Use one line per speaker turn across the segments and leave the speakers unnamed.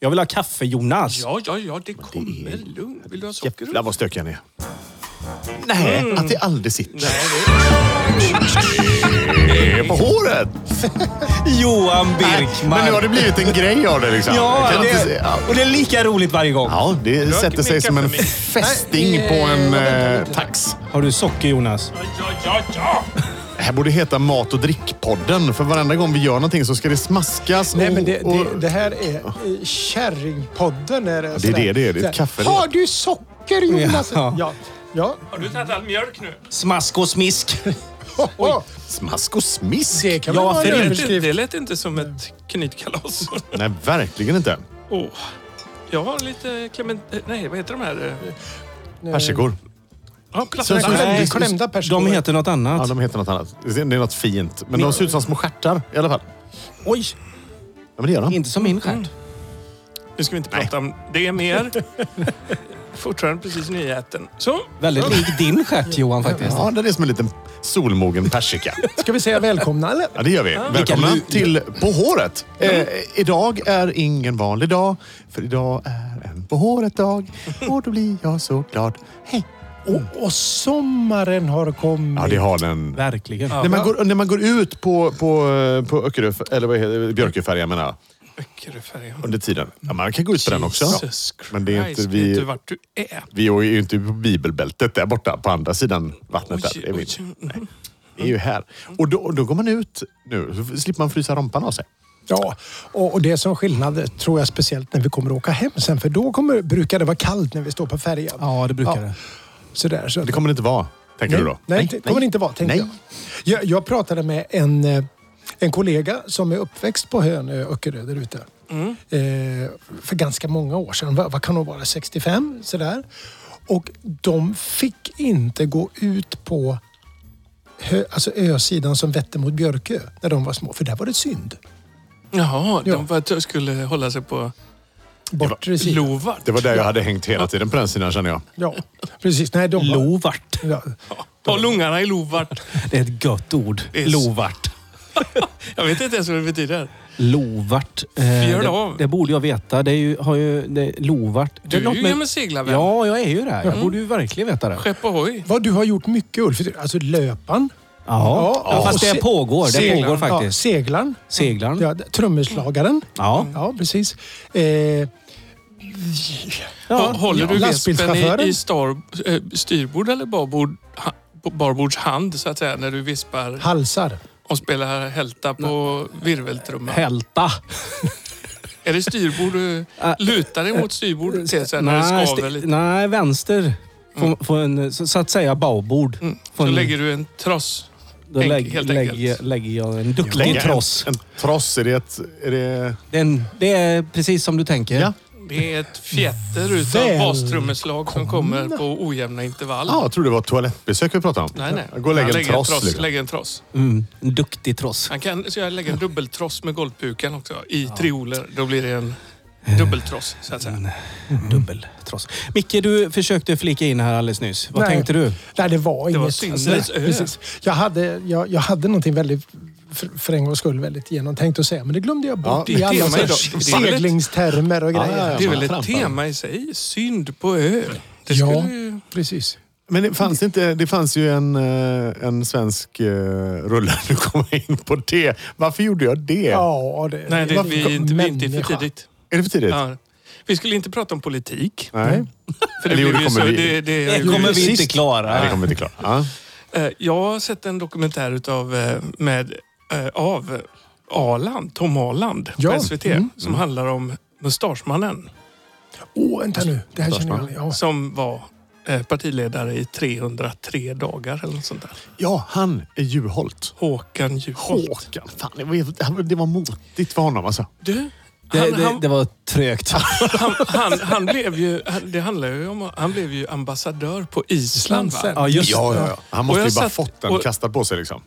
Jag vill ha kaffe, Jonas.
Ja, ja, ja, det kommer. Lugn. Vill du ha socker?
Jävlar vad stökig han är. Nej, att det aldrig sitter. Det är på håret!
Johan
Nej,
Birkman.
men nu har det blivit en grej av det liksom.
Ja,
Jag kan inte
det,
se- ja.
och det är lika roligt varje gång.
Ja, det sätter sig
med
som en
kaffe med.
fästing på en eh, tax.
Har du socker, Jonas?
Ja, ja, ja.
Det här borde heta Mat och drickpodden. För varenda gång vi gör någonting så ska det smaskas.
Nej, men det,
och, och,
det, det här är eh, Kärringpodden. Är det,
det är det det är. Det är ett
Så här,
kaffe det.
Har du socker Jonas?
Ja.
Ja. ja.
Har du tagit all mjölk nu?
Smask och smisk.
Oj,
Smask och smisk.
det kan väl
Ja,
vara
för
en
Det lät,
överskrift.
det lät inte som ett knytkalas.
Nej, verkligen inte.
Åh, Jag har lite clement... Nej, vad heter de här? eh,
Persikor.
Ja,
Så-
plastblandare.
Nej,
Klämda- Klämda
De
personer.
heter något annat.
Ja, de heter något annat. Det är något fint. Men de ser ut som små stjärtar i alla fall.
Oj,
Ja, men det gör de.
inte som min stjärt.
Nu ska vi inte prata om det mer. Fortfarande precis nyäten. Så,
Väldigt lik din stjärt, Johan, faktiskt.
Ja, det är som en liten solmogen persika.
Ska vi säga välkomna eller?
Ja, det gör vi. Välkomna
Vilka lu-
till På håret. Eh, idag är ingen vanlig dag, för idag är en På håret-dag. Och då blir jag så glad. Hej!
Och, och sommaren har kommit.
Ja, det har den.
Verkligen.
När man går, när man går ut på, på, eh, på Öckerö, eller vad heter det? Björköfärjan menar jag,
Öckeröfärjan.
under tiden. Ja, man kan gå ut på den också.
Jesus
Men det är inte
Christ, Vet du
vi...
vart du är?
Vi är ju inte på bibelbältet där borta på andra sidan vattnet.
Oj,
Där. Det, är
oj,
min.
oj.
Nej, det är ju här. Och då, då går man ut nu. Så slipper man frysa rompan av sig.
Ja, och, och det är som skillnad tror jag speciellt när vi kommer åka hem sen. För då kommer, brukar det vara kallt när vi står på färjan.
Ja, det brukar
Ja.
det.
Sådär, så att-
Det kommer det inte vara, tänker du då?
Nej, det kommer det inte vara, tänkte
nej.
jag. jag. Jag pratade med en, eh, en kollega som är uppväxt på Hönö, Öckerö, där ute.
Mm.
Eh, för ganska många år sedan. Vad, vad kan hon vara? 65? Sådär. Och de fick inte gå ut på hö, alltså ösidan som vette mot Björkö när de var små. För där var det synd.
Jaha,
Ja.
de var att jag skulle hålla sig på
Bortre sidan.
Lovart.
Det var där jag hade hängt hela tiden på den sidan känner jag.
Ja, precis. Nej, de var-
Lovart.
Ja.
Ta lungarna i Lovart.
Det är ett gött ord.
Det är s-
Lovart.
Jag vet inte ens vad det betyder.
Lovart. Eh,
Fjärde
det,
av.
det borde jag veta. Det är ju, har ju, det, Lovart. det
Du är
något
ju gammal seglarvän.
Ja, jag är ju det. Jag borde ju verkligen veta det.
Skepp ohoj.
Vad du har gjort mycket Ulf. Alltså löpan.
Ja,
Ja,
fast
och
det
se-
pågår. Det
seglar.
pågår
Ja,
faktiskt. Mm.
seglaren.
Seglaren.
Ja, trummerslagaren.
Ja.
Ja, precis. Eh,
Hå- Håller du vespen
lastbilschauffören.
i, i star, eh, styrbord eller barbord, ha, på barbords hand så att säga när du vispar
halsar.
och spelar hälta på virveltrumman?
Hälta.
Är det styrbord du
Äh,
lutar dig mot styrbord till sen när det
Nej,
skaver
sti-
lite?
nej, vänster. Får, får en, så, så att säga babord.
Mm.
Får
Så
en-
lägger du en tross.
Då
Enk-
lägg,
helt
lägger,
enkelt.
lägger jag en duktig
Lägga
tross.
En, en tross, är det ett... Är det...
Det är, en, det är precis som du tänker.
Ja.
Det är ett fjätter utav
Väl-
bastrummeslag som kommer på ojämna intervall.
Ja, jag trodde det var toalettbesök vi pratade om.
Nej, nej.
Gå och lägg
Han
en
lägger
tross. liksom.
lägger en tross.
Mm, en duktig tross.
Han kan, så jag lägger en dubbeltross med golvpuken också i trioler. Då blir det en dubbeltross så att säga.
Dubbeltross. Micke, du försökte flika in här alldeles nyss. Vad
Nej.
tänkte du?
Nej, det var inget.
var syndens
Alltså,
ö.
precis. Jag hade, jag, jag hade någonting väldigt, för, för en gångs skull, väldigt genomtänkt att säga. Men det glömde jag bort
Ja,
i
det är
alla
tema
sorts
idag. Det är väldigt-
seglingstermer och
Ja,
grejer.
ja,
Det är väl
man
ett
trampar.
tema i sig. Synd på ö. Det
Ja.
skulle ju...
Precis.
Men det fanns, inte, det fanns ju en, eh, en svensk eh, rulle. Nu kommer jag in på det. Varför gjorde jag det?
Ja, det,
Nej, det,
Varför-
vi, är inte, vi är inte för
människa.
tidigt.
Är det för tidigt?
Ja. Vi skulle inte prata om politik.
Nej.
För det,
Eller jo,
blev
det
ju
kommer
så,
vi-
det, det,
Det
gjorde
Eh, kommer
vi
vi inte
sist.
Nej, det
klara.
kommer inte klart. Ja.
Eh, Jag har sett en dokumentär utav, eh, med, eh, av Aland, Tom Aland
Ja.
på SVT
Mm.
som handlar om Mustaschmannen
Åh, vänta nu. Det här känner jag. Ja.
som var eh, partiledare i 303 dagar eller något sånt där.
ja, han är Juholt.
Håkan Juholt.
Håkan. Fan, det, var, det var motigt för honom alltså.
Du,
Det,
han,
det,
han,
det var trögt.
han, han, han blev ju, han- det handlar ju om, han blev ju ambassadör på Island. Va?
Island.
Ja, just
Ja, ja, ja. Han måste
Och
ju
jag
bara
satt-
fått den
och-
kastad på sig liksom.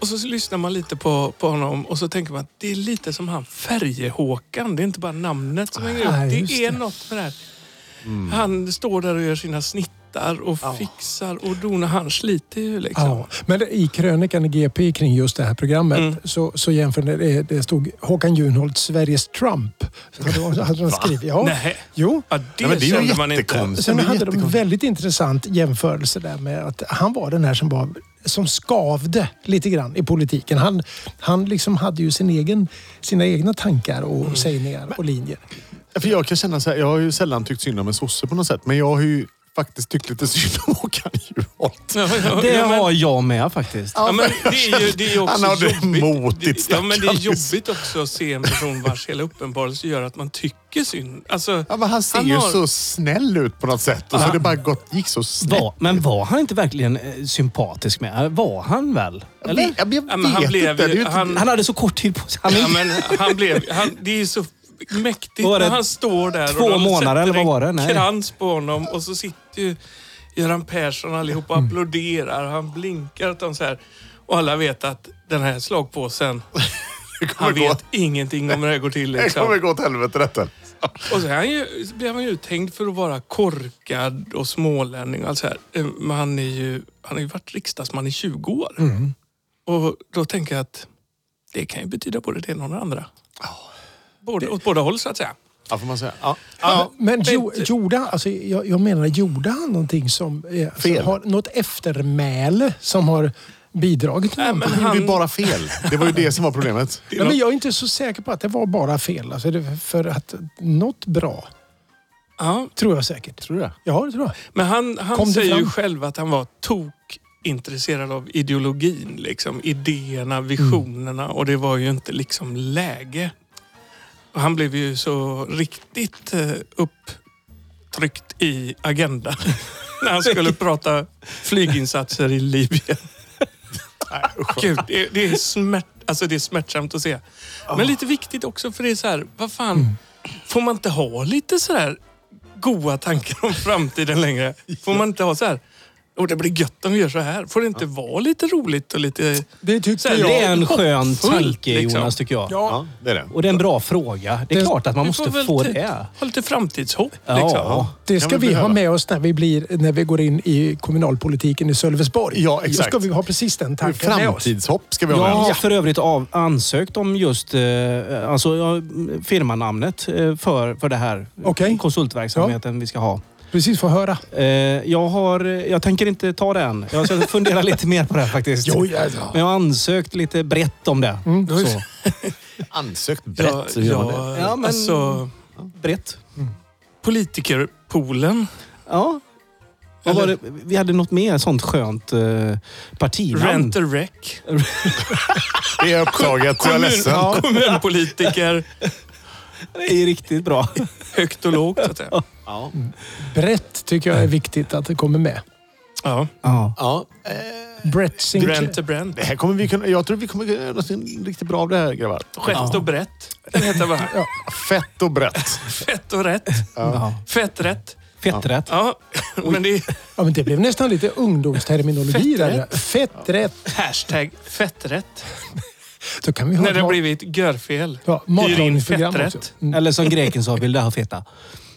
Och så lyssnar man lite på, på honom och så tänker man att det är lite som han Färjehåkan. Det är inte bara namnet som hänger
Ah,
ut. Det
just
är
det.
Mm.
något med det här. Han står där och gör sina snittar tvättar och fixar och donar. Han sliter ju liksom.
Ja, men i krönikan i GP kring just det här programmet så, så jämför det, det stod Håkan Juholt Sveriges Trump. Hade de- hade de skrivit. Ja.
Nej.
Jo.
Ja, det,
Ja, men det är ju
kände man inte.
jättekonstigt.
Sen
Det är
hade de en
jättekonstigt.
väldigt intressant jämförelse där med att han var den här som var som skavde lite grann i politiken. Han, han liksom hade ju sin egen, sina egna tankar och sägningar och linjer.
Ja, För jag kan känna så här, jag har ju sällan tyckt synd om en sosse på något sätt. Men jag har ju faktiskt tyckt lite synd om Håkan Juholt.
Ja, ja,
Det
ja, men-
har jag med faktiskt.
Ja, men det är ju, det är ju också
Han hade
jobbigt.
motigt,
Det- ja, men det är
stackarn.
jobbigt också att se en person vars hela uppenbarelse gör att man tycker synd. Alltså,
Ja, men han ser ju
har-
så snäll ut på något sätt. Och så
Ja.
har det bara gått, gick så snett.
Var, men var han inte verkligen eh, sympatisk med? Var han väl? Eller?
Ja, men jag vet
Ja, men han
inte.
blev
det är ju
ju-
inte...
han-
Han hade så kort tid på sig. Han,
Ja, men han blev, han, det är så mäktigt
Var det
när han står där
två
och de
månader,
sätter
eller vad
en
var det? Nej.
krans på honom och så sitter ju Göran Persson och allihopa
Mm.
och applåderar. Han blinkar åt dem så här. Och alla vet att den här slagpåsen, han
gå-
vet ingenting om hur det här går till.
Det
Liksom.
kommer gå åt helvete detta.
Och så, är han ju, så blev han ju uthängd för att vara korkad och smålänning och allt så här. Eh, Men han, är ju, han har ju varit riksdagsman i 20 år. Och då tänker jag att det kan ju betyda både det ena och det andra. Både, åt båda håll så att säga.
Ja, får man säga. Ja.
Men
men-
jo, gjorde, alltså, jag, jag menar, gjorde han någonting som... eh, Alltså,
Fel.
har, något eftermäle som har bidragit till
Nej,
någonting?
men
Han gjorde ju
han,
bara fel. Det var ju det som var problemet.
Ja, men jag är inte så säker på att det var bara fel. Alltså, det- för att något bra,
ja,
tror jag säkert.
Tror du det?
Ja, det tror jag.
men han,
Kom
han
det
säger ju
fram?
själv att han var tokintresserad av ideologin. Liksom, idéerna,
Mm.
visionerna och det var ju inte liksom läge. Och han blev ju så riktigt eh, upptryckt i agendan när han skulle prata flyginsatser i Libyen. Gud, det, det, är smärt, alltså det är smärtsamt att se. Men lite viktigt också för det är så här, vad fan,
Mm.
får man inte ha lite så här goa tankar om framtiden längre? Får man inte ha så här, och det blir gött om vi gör så här. Får det inte vara lite roligt och lite...
Det
Så
tyckte
här,
jag.
Det är en skön
Hoppfullt,
tanke
liksom.
Jonas, tycker jag.
Ja.
Ja, det är det.
Och det är en bra fråga. Det är
Det-
klart att man
vi
måste
får väl
få
typ
det.
Ha lite framtidshopp. Liksom.
Ja.
Det ska
Kan vi
vi ha
behöva.
med oss när vi, blir, när vi går in i kommunalpolitiken i Sölvesborg.
Ja,
Då
exakt.
ska vi ha precis den tanken med oss.
Framtidshopp ska vi
Jag
ha med
har
oss.
för övrigt av, ansökt om just eh, alltså, ja, firmanamnet eh, för, för det här
Okej.
konsultverksamheten vi ska ha.
Precis, få höra.
Eh, jag, har, jag tänker inte ta det än. Jag ska fundera lite mer på det här faktiskt.
ja,
Men jag har ansökt lite brett om det.
Mm,
Så.
Ansökt brett.
Ja,
så gör man det.
ja,
Ja, men-
alltså,
Brett.
politikerpoolen.
Ja. Vad var det? Vi hade något mer sånt skönt eh, partinamn.
Rent a wreck.
Det är upptaget. Jag är ledsen.
Kommun, kommunpolitiker.
Det är riktigt bra.
Högt och lågt, så att säga.
Ja.
Brett tycker jag är viktigt att det kommer med.
Ja.
Ja.
Ja.
Brett Sinclair.
Brent och Brent.
Det här kommer vi kunna, jag tror vi kommer kunna göra något riktigt bra av det här grabbar.
Skett och brett. Den heter bara.
Fett och brett.
Fett och rätt.
Ja.
Fett rätt.
Fetträtt.
Ja, men det är
Ja, men det blev nästan lite ungdomsterminologi där. Fett rätt.
hashtag fetträtt.
Då kan vi ha
När
ett
det har
mat-
blivit görfel.
ja,
Hyr in
matlagningsprogram också.
fetträtt.
Mm,
Eller som greken sa, vill du ha feta?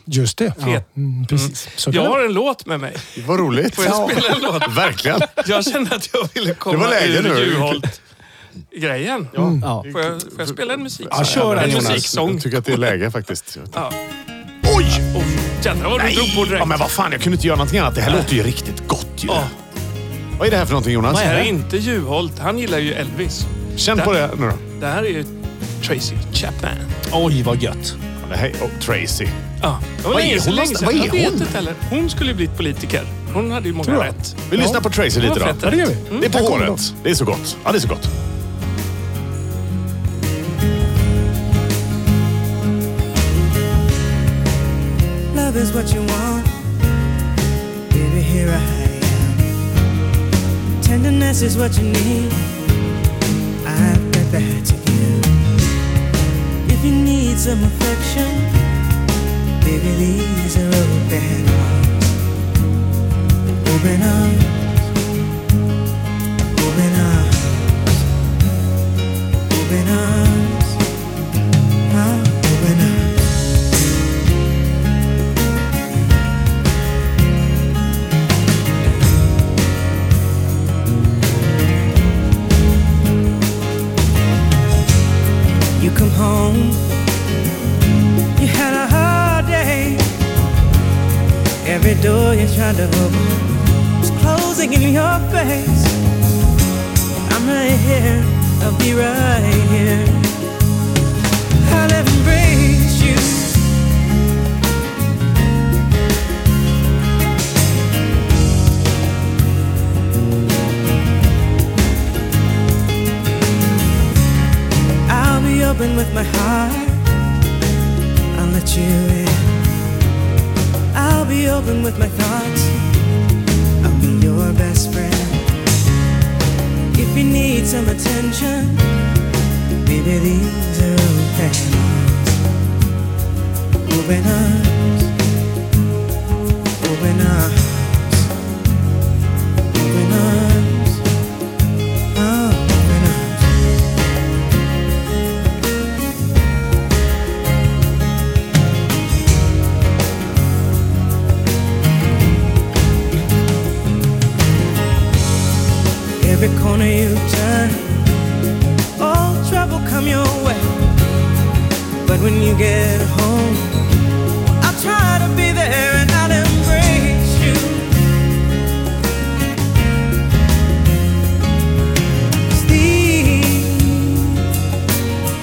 Just det.
Fet.
Mm, precis. Så kan
Jag
det-
har en låt med mig.
Det var roligt.
Får jag spela en låt?
Verkligen.
Jag kände att jag ville
Det
komma
var läge
ur
nu.
Juholt-grejen.
Ja.
Får, jag, får jag spela en musik?
Ja, kör den,
en
Jonas.
musiksång.
Mm. Jag tycker att det är läge faktiskt.
Ja.
Oj!
Oh, jädrar vad du drog på direkt.
Ja, men vad fan, jag kunde inte göra någonting annat. Det här låter ju riktigt gott ju.
Ja.
Vad är det här för någonting Jonas?
Det här är
det?
inte Juholt. Han gillar ju Elvis.
Känn på det nu då.
Det här är ju Tracy Chapman.
Oj, vad gött.
Ja, Det här är oh, Tracy.
Ja, det var
Vad
länge
är
sedan.
hon
länge
någonstans?
sedan.
Vad är
Jag vet
hon?
inte heller. Hon skulle ju blivit politiker. Hon hade ju många
Tror jag.
rätt.
Vi lyssnar på Tracy
Det
lite
var
då.
fett Mm.
Ja, det gör vi.
Det är på
Här kommer
håret. Det är så gott. Ja, det är så gott.
Love is what you want. Baby, here I am. Tenderness is what you need. I've got that to give. If you need some affection, baby, these are open arms. Open arms. Open arms. Open arms. Huh? Open arms.
Every door you tried to open was closing in your face. I'm right here, I'll be right here. I'll embrace you. I'll be open with my heart. I'll let you in. I'll be open with my thoughts. I'll be your best friend. If you need some attention, baby, these are open arms. Open arms. Open arms. Open arms. Oh, open arms. Every corner you turn, all trouble come your way. But when you get home, I'll try to be there and I'll embrace you.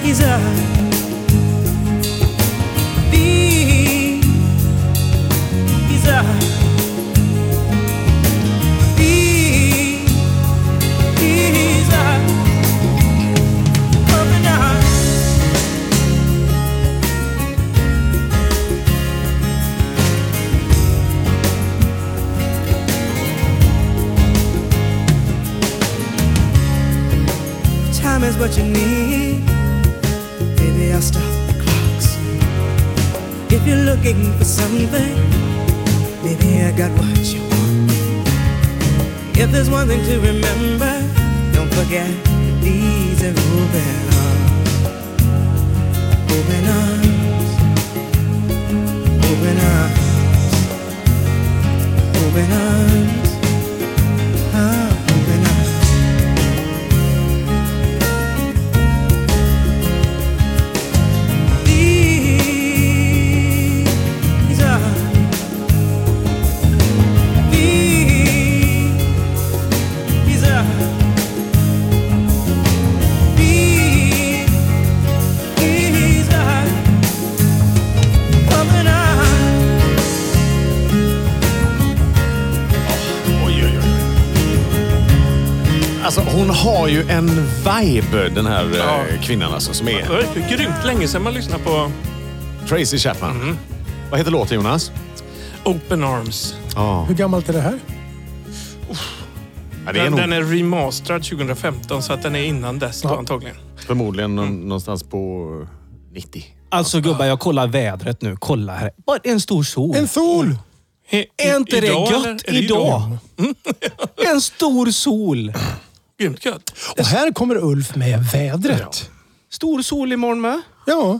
These are these are these. These are open arms. Time is what you need. Baby, I'll stop the clocks. If you're looking for something, maybe I got what you want. If there's one thing to remember, don't forget these are open arms. Open arms. Open arms. Open arms. Ah, open arms. These are these. These are these. These are coming out.
Oj, oj, oj. Alltså hon har ju en vibe den här
Ja.
eh, kvinnan alltså som
Det var
är
riktigt grymt länge sedan man lyssnade på
Tracy Chapman. Vad heter låten Jonas?
Open Arms.
Ja,
Hur gammalt är det här?
Ja, det är
Den,
nog
den är remasterad 2015 så att den är innan dess då, antagligen.
förmodligen nå- någonstans på 90.
Alltså gubbar, jag kollar vädret nu. Kolla här. Bara en stor sol.
En sol!
He-
Är inte det
idag,
gött
eller? Är det
idag? Mm. en stor sol.
Grymt gött.
Och här kommer Ulf med vädret.
Stor sol imorgon med.
Ja.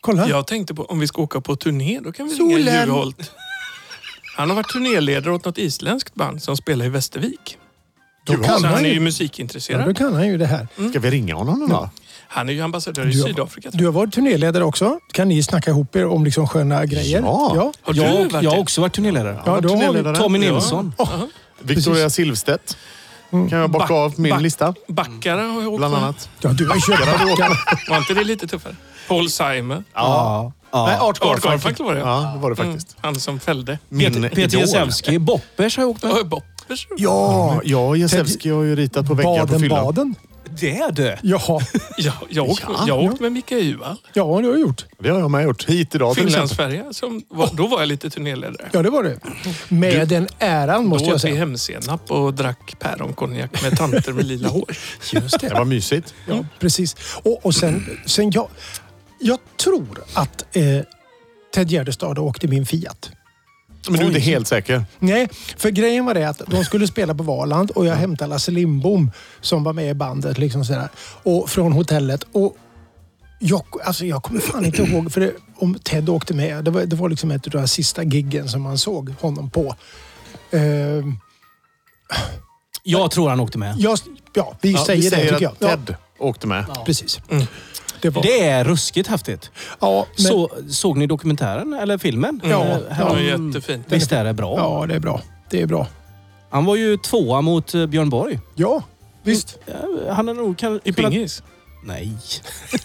Kolla.
Jag tänkte på om vi ska åka på turné, då kan vi ringa
Solen.
Juholt. Han har varit turnéledare åt något isländskt band som spelar i Västervik.
Då kan
Så han
han
är ju
ju, ja, då
musikintresserad.
kan han ju det här.
Ska vi ringa honom då?
Han är ju ambassadör i
Du har-
Sydafrika. tror
Du har varit turnéledare också. Kan ni snacka ihop er om liksom sköna grejer?
Ja.
jag. Har du
Jag,
varit
jag har
det?
också varit turnéledare.
Ja, då har vi-
Turnéledare.
Tommy Nilsson.
Victoria Silvstedt. Kan jag bocka
Back-
av min
back-
lista?
Backare har jag åkt
Bland
med.
annat.
Ja, du har köpt backar.
Var inte det lite tuffare? Paul Simon.
Ja.
Nej,
ja.
Art
Art
Garfunkel.
Garfunkel var det. Mm.
Ja, det var det faktiskt.
Han som fällde.
Peter,
Min
Peter
idol.
Jezewski. Boppers har jag åkt med.
Oj, Boppers.
Ja, jag och Jezewski har ju ritat på väggar på fyllan.
Baden-Baden.
Det är du.
Jaha.
Jag, jag har åkt,
Ja.
jag har åkt med Micke Uval.
Ja, det har jag gjort.
Det har jag med gjort. Hit idag till exempel.
Finlandsfärja. som var- Då var jag lite turnéledare.
Ja, det var det. Med den äran
Då
måste jag
åt vi
säga.
hemsenap och drack päronkonjak med tanter med lila hår.
Just
Det
det.
var mysigt.
Ja, precis. Och, och sen, sen jag... Jag tror att eh, Ted Gärdestad åkte min Fiat.
Men du är inte helt säker?
Nej, för grejen var det att de skulle spela på Valand och jag hämtade Lasse Lindbom som var med i bandet liksom sådär, och från hotellet. Och jag, alltså jag kommer fan inte ihåg för det, om Ted åkte med. Det var, det var liksom ett av de här sista giggen som man såg honom på. Ehm,
Jag tror han åkte med.
jag, ja, vi
Ja,
säger
vi
det tycker jag.
att
Ja,
Ted åkte med.
precis. Det var...
Det är ruskigt häftigt.
Ja, men...
Så, såg ni dokumentären eller filmen?
Ja,
Eh,
ja.
härom-
Det är jättefint.
Visst är det bra?
ja, det är bra. Det är bra.
Han var ju tvåa mot eh, Björn Borg.
Ja, visst.
Eh, Han hade nog kan,
I pingis?
Nej. Mm.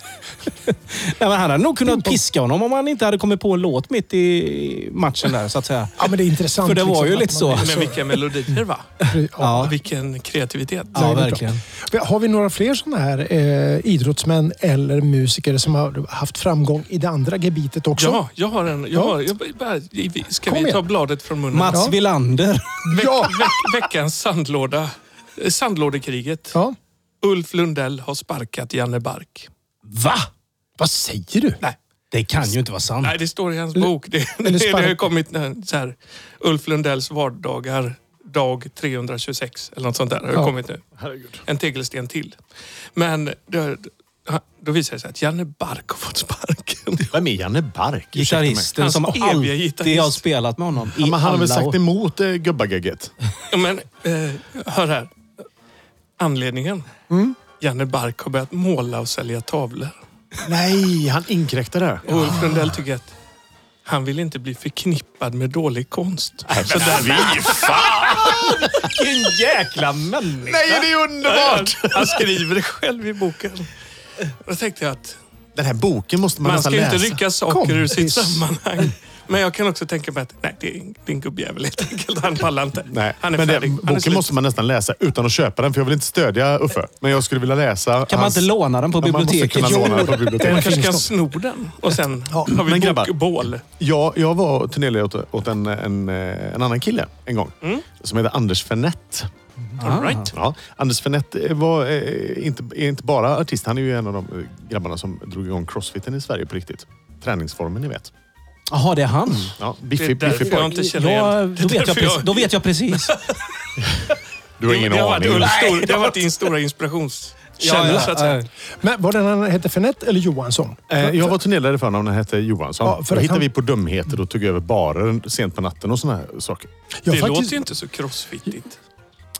Nej men han hade nog kunnat piska honom om han inte hade kommit på en låt mitt i matchen där så att säga.
Ja, men det är intressant. liksom,
För det var ju
att
lite så.
man-
Men vilka melodier va?
Ja.
Vilken kreativitet.
det
Ja,
är bra.
verkligen.
Har vi några fler sådana här eh, idrottsmän eller musiker som har haft framgång i det andra gebitet också?
Ja, jag har en. Jag
Ja.
har, jag, bara- vi- ska
Kom
vi ta
igen.
bladet från munnen?
Mats
Ja.
Wilander.
Veck,
Ja.
veck, veckans sandlåda. Eh, Sandlådekriget.
Ja.
Ulf Lundell har sparkat Janne Bark.
Va?
Vad säger du?
Nej,
Det kan ju inte vara sant.
nej det står i hans bok. Det, det, det har ju
Mm. spark-
kommit en så här, Ulf Lundells vardagar, dag 326 eller något sånt där. Har ju
Ja.
kommit nu. En tegelsten till. Men det, då visar det sig att Janne Bark har fått sparken.
Vem är Janne Bark? Ursäkta mig.
Gitarristen
Hans
som
eviga
alltid
gitarrist.
har spelat med honom. I
Ja, men han har väl
alla
sagt
år.
emot eh, gubbagegget?
Ja, Men eh, hör här. Anledningen?
Mm.
Janne Bark har börjat måla och sälja tavlor.
Nej, han inkräktar där.
Och Ulf Lundell tycker att han vill inte bli förknippad med dålig konst. Så där,
Vilken jäkla människa!
Nej, det är underbart!
han skriver det själv i boken. Då tänkte jag att
Den här boken måste man,
man
nästan
ska ju
läsa.
inte rycka saker ur sitt
Kompis.
sammanhang. Men jag kan också tänka mig att nej, det är en- det är en gubbjävel helt enkelt. Han pallar inte.
Nej,
han är
men det,
färdig. Han är
boken
slut.
måste man nästan läsa utan att köpa den, för jag vill inte stödja Uffe. Men jag skulle vilja läsa
Kan man inte låna den på
Ja, man måste kunna
biblioteket?
låna den på
Man
biblioteket.
kanske kan sno den och sen har
men
vi
grabbar.
bokbål.
Jag, jag var turnéledare åt, åt en, en, eh, en annan kille en gång. Som heter Anders Fernett.
Mm. All right.
Ja, Anders Fernett var eh, inte, är inte bara artist. Han är ju en av de eh, grabbarna som drog igång crossfiten i Sverige på riktigt. Träningsformen ni vet.
Jaha, det är han.
Ja,
Det är
biffig,
därför
biffig
jag
pojk.
inte känner
Ja,
igen.
då, vet jag
därför jag-
precis, då vet jag precis.
Du har ingen
det, har varit
aning.
Ulf stor, det har varit din stora inspirationskälla så att säga.
Men var det han hette Fenett eller Johansson?
Eh, Jag var turnéledare för honom när han hette Johansson.
Ja, för
Då
att
hittade
han-
vi på dumheter och tog över barer sent på natten och såna här saker.
Jag
det
faktiskt-
låter ju inte så crossfittigt.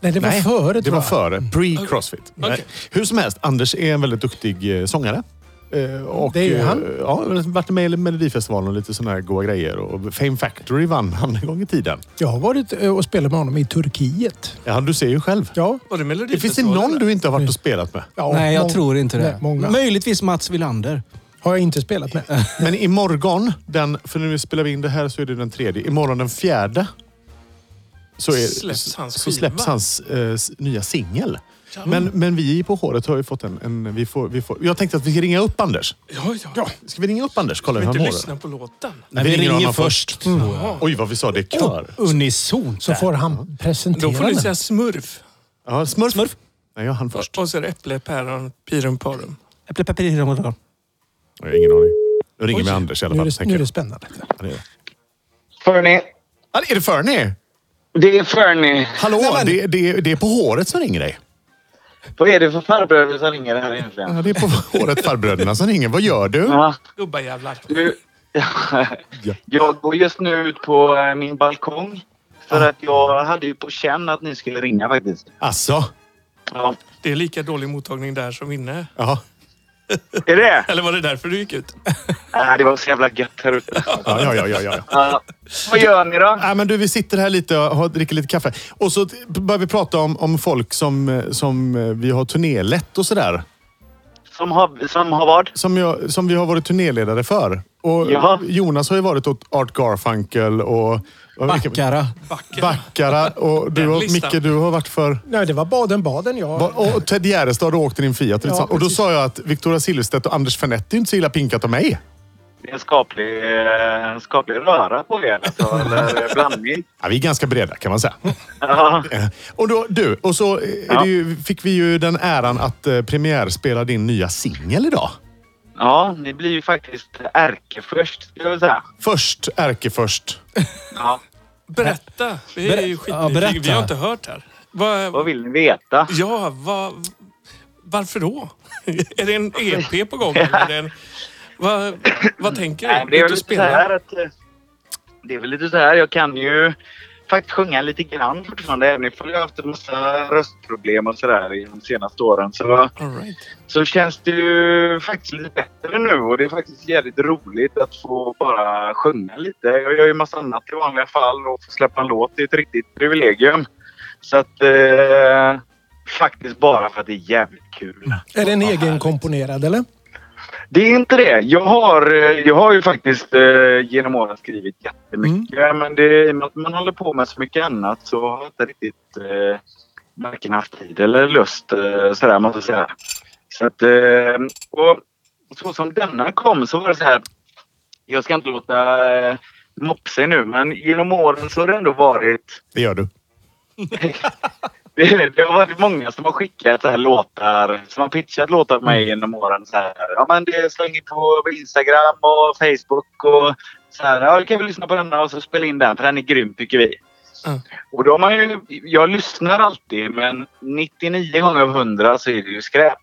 Nej, det var före
Det
tror
var
jag.
före. Pre-crossfit.
Okej.
Nej. Hur som helst, Anders är en väldigt duktig eh, sångare. Eh, Och,
Det är ju
eh,
han.
Ja, varit med i Melodifestivalen och lite såna här goa grejer. Och Fame Factory vann han en gång i tiden.
Jag har varit eh, och spelat med honom i Turkiet.
Ja, du ser ju själv.
Ja.
Var det
Det finns det någon du inte har varit och spelat med?
ja
Nej, jag
mång-
tror inte det.
Nej, många
Möjligtvis Mats Wilander.
har jag inte spelat med.
Men imorgon, den, för nu spelar vi in det här så är det den tredje. Imorgon den fjärde så, är,
Släpps hans
så
skiva.
släpps hans eh, s- nya singel. Men, men vi i På håret har ju fått en... en vi får, vi får, jag tänkte att vi ska ringa upp Anders.
Ja, ja. ja.
Ska vi ringa upp Anders? Kolla hur
Kan
han
inte
mår.
lyssna på låten.
Nej,
Vi
vi
ringer
ringer
honom
först. Mm. Oh, uh,
Oj, vad vi sa det är kör.
Unison.
Så får han presentera
Då får du
den.
säga smurf.
Ja, smurf.
Smurf.
Nej, jag hann först.
Och så är det äpple, päron, pirum, parum.
Äpple, pepper, i dem.
Jag har ingen aning. Nu ringer vi
Oj.
Anders i alla
Nu är
fall. tänker
det, nu är det
jag.
spännande.
Ja, det är det.
Fernie.
Ja, det
Det
Är det Fernie?
är Fernie.
Hallå, det, det, det är På håret som ringer dig.
Vad är det för farbröder som ringer här egentligen?
Ja, det är På håret farbröderna som ringer. Vad gör du?
Ja,
Gubbajävlar.
du. Jag går just nu ut på eh, min balkong. För att jag hade ju på känn att ni skulle ringa faktiskt.
Asså?
Ja.
Det är lika dålig mottagning där som inne.
Ja.
Är det?
Eller var det därför du gick ut?
Nej, det var så jävla gött här ute.
Ja, ja, ja, ja, ja.
Ja. Vad gör ni då?
Nej, men du, vi sitter här lite och har- dricker lite kaffe. Och så t- börjar vi prata om, om folk som, eh, som eh, vi har turnélätt och sådär.
Som har, som har vad?
Som, jag, som vi har varit turnéledare för. Och
Jaha.
Jonas har ju varit åt Art Garfunkel och... vad-
Backara.
Backara. Och du
Den
och
listan.
Micke, du har varit för...
Nej, det var Baden-Baden. Jag...
Va- Och Ted Gärdestad och åkte din Fiat.
Ja,
och då
precis.
sa jag att Victoria Silvstedt och Anders Fernetti är inte så illa pinkat av mig.
Det är en skaplig, eh, en skaplig röra på er. Alltså, eller eh, blandning.
Ja, vi är ganska breda kan man säga. Eh,
Ja.
Och då, du, och så eh, är
Ja.
det ju, fick vi ju den äran att eh, premiärspela din nya singel idag.
ja, ni blir ju faktiskt ärke först skulle jag vilja säga.
Först, ärke först.
Ja.
Berätta. Vi är ju
Ber- ja, berätta.
skitnyfikna. Vi har inte hört här.
Vad
Vad,
vill ni veta?
ja, vad, varför då? är det en EP på gång? Eller är det en, vad, vad tänker du?
Nej, men det är väl
Ut och
lite så
spela?
här att... eh, Det är väl lite så här, jag kan ju... faktiskt sjunga lite grann fortfarande. Även om jag har haft en massa röstproblem och sådär de senaste åren. Så,
All right.
så känns det ju faktiskt lite bättre nu. Och det är faktiskt jävligt roligt att få bara sjunga lite. Jag gör ju massa annat i vanliga fall och få släppa en låt det är ett riktigt privilegium. Så att... Eh, faktiskt bara för att det är jävligt kul.
Är den
Vad
egen
härligt.
komponerad eller?
Det är inte det. Jag har, eh, jag har ju faktiskt eh, genom åren skrivit jättemycket. Men det, i och med att man håller på med så mycket annat så har jag inte riktigt eh, varken haft tid eller lust. Eh, sådär måste jag säga. Så att, eh, och så som denna kom så var det så här. Jag ska inte låta eh, mopsig nu men genom åren så har det ändå varit
Det gör du.
det, det har varit många som har skickat så här låtar, som har pitchat låtar till
Mm.
mig genom åren. Så här, ja, men det slänger på på Instagram och Facebook och så här. Ja, du kan väl lyssna på denna och så spela in den för den är grym tycker vi.
Mm.
Och då har man ju, jag lyssnar alltid men 99 gånger av 100 så är det ju skräp.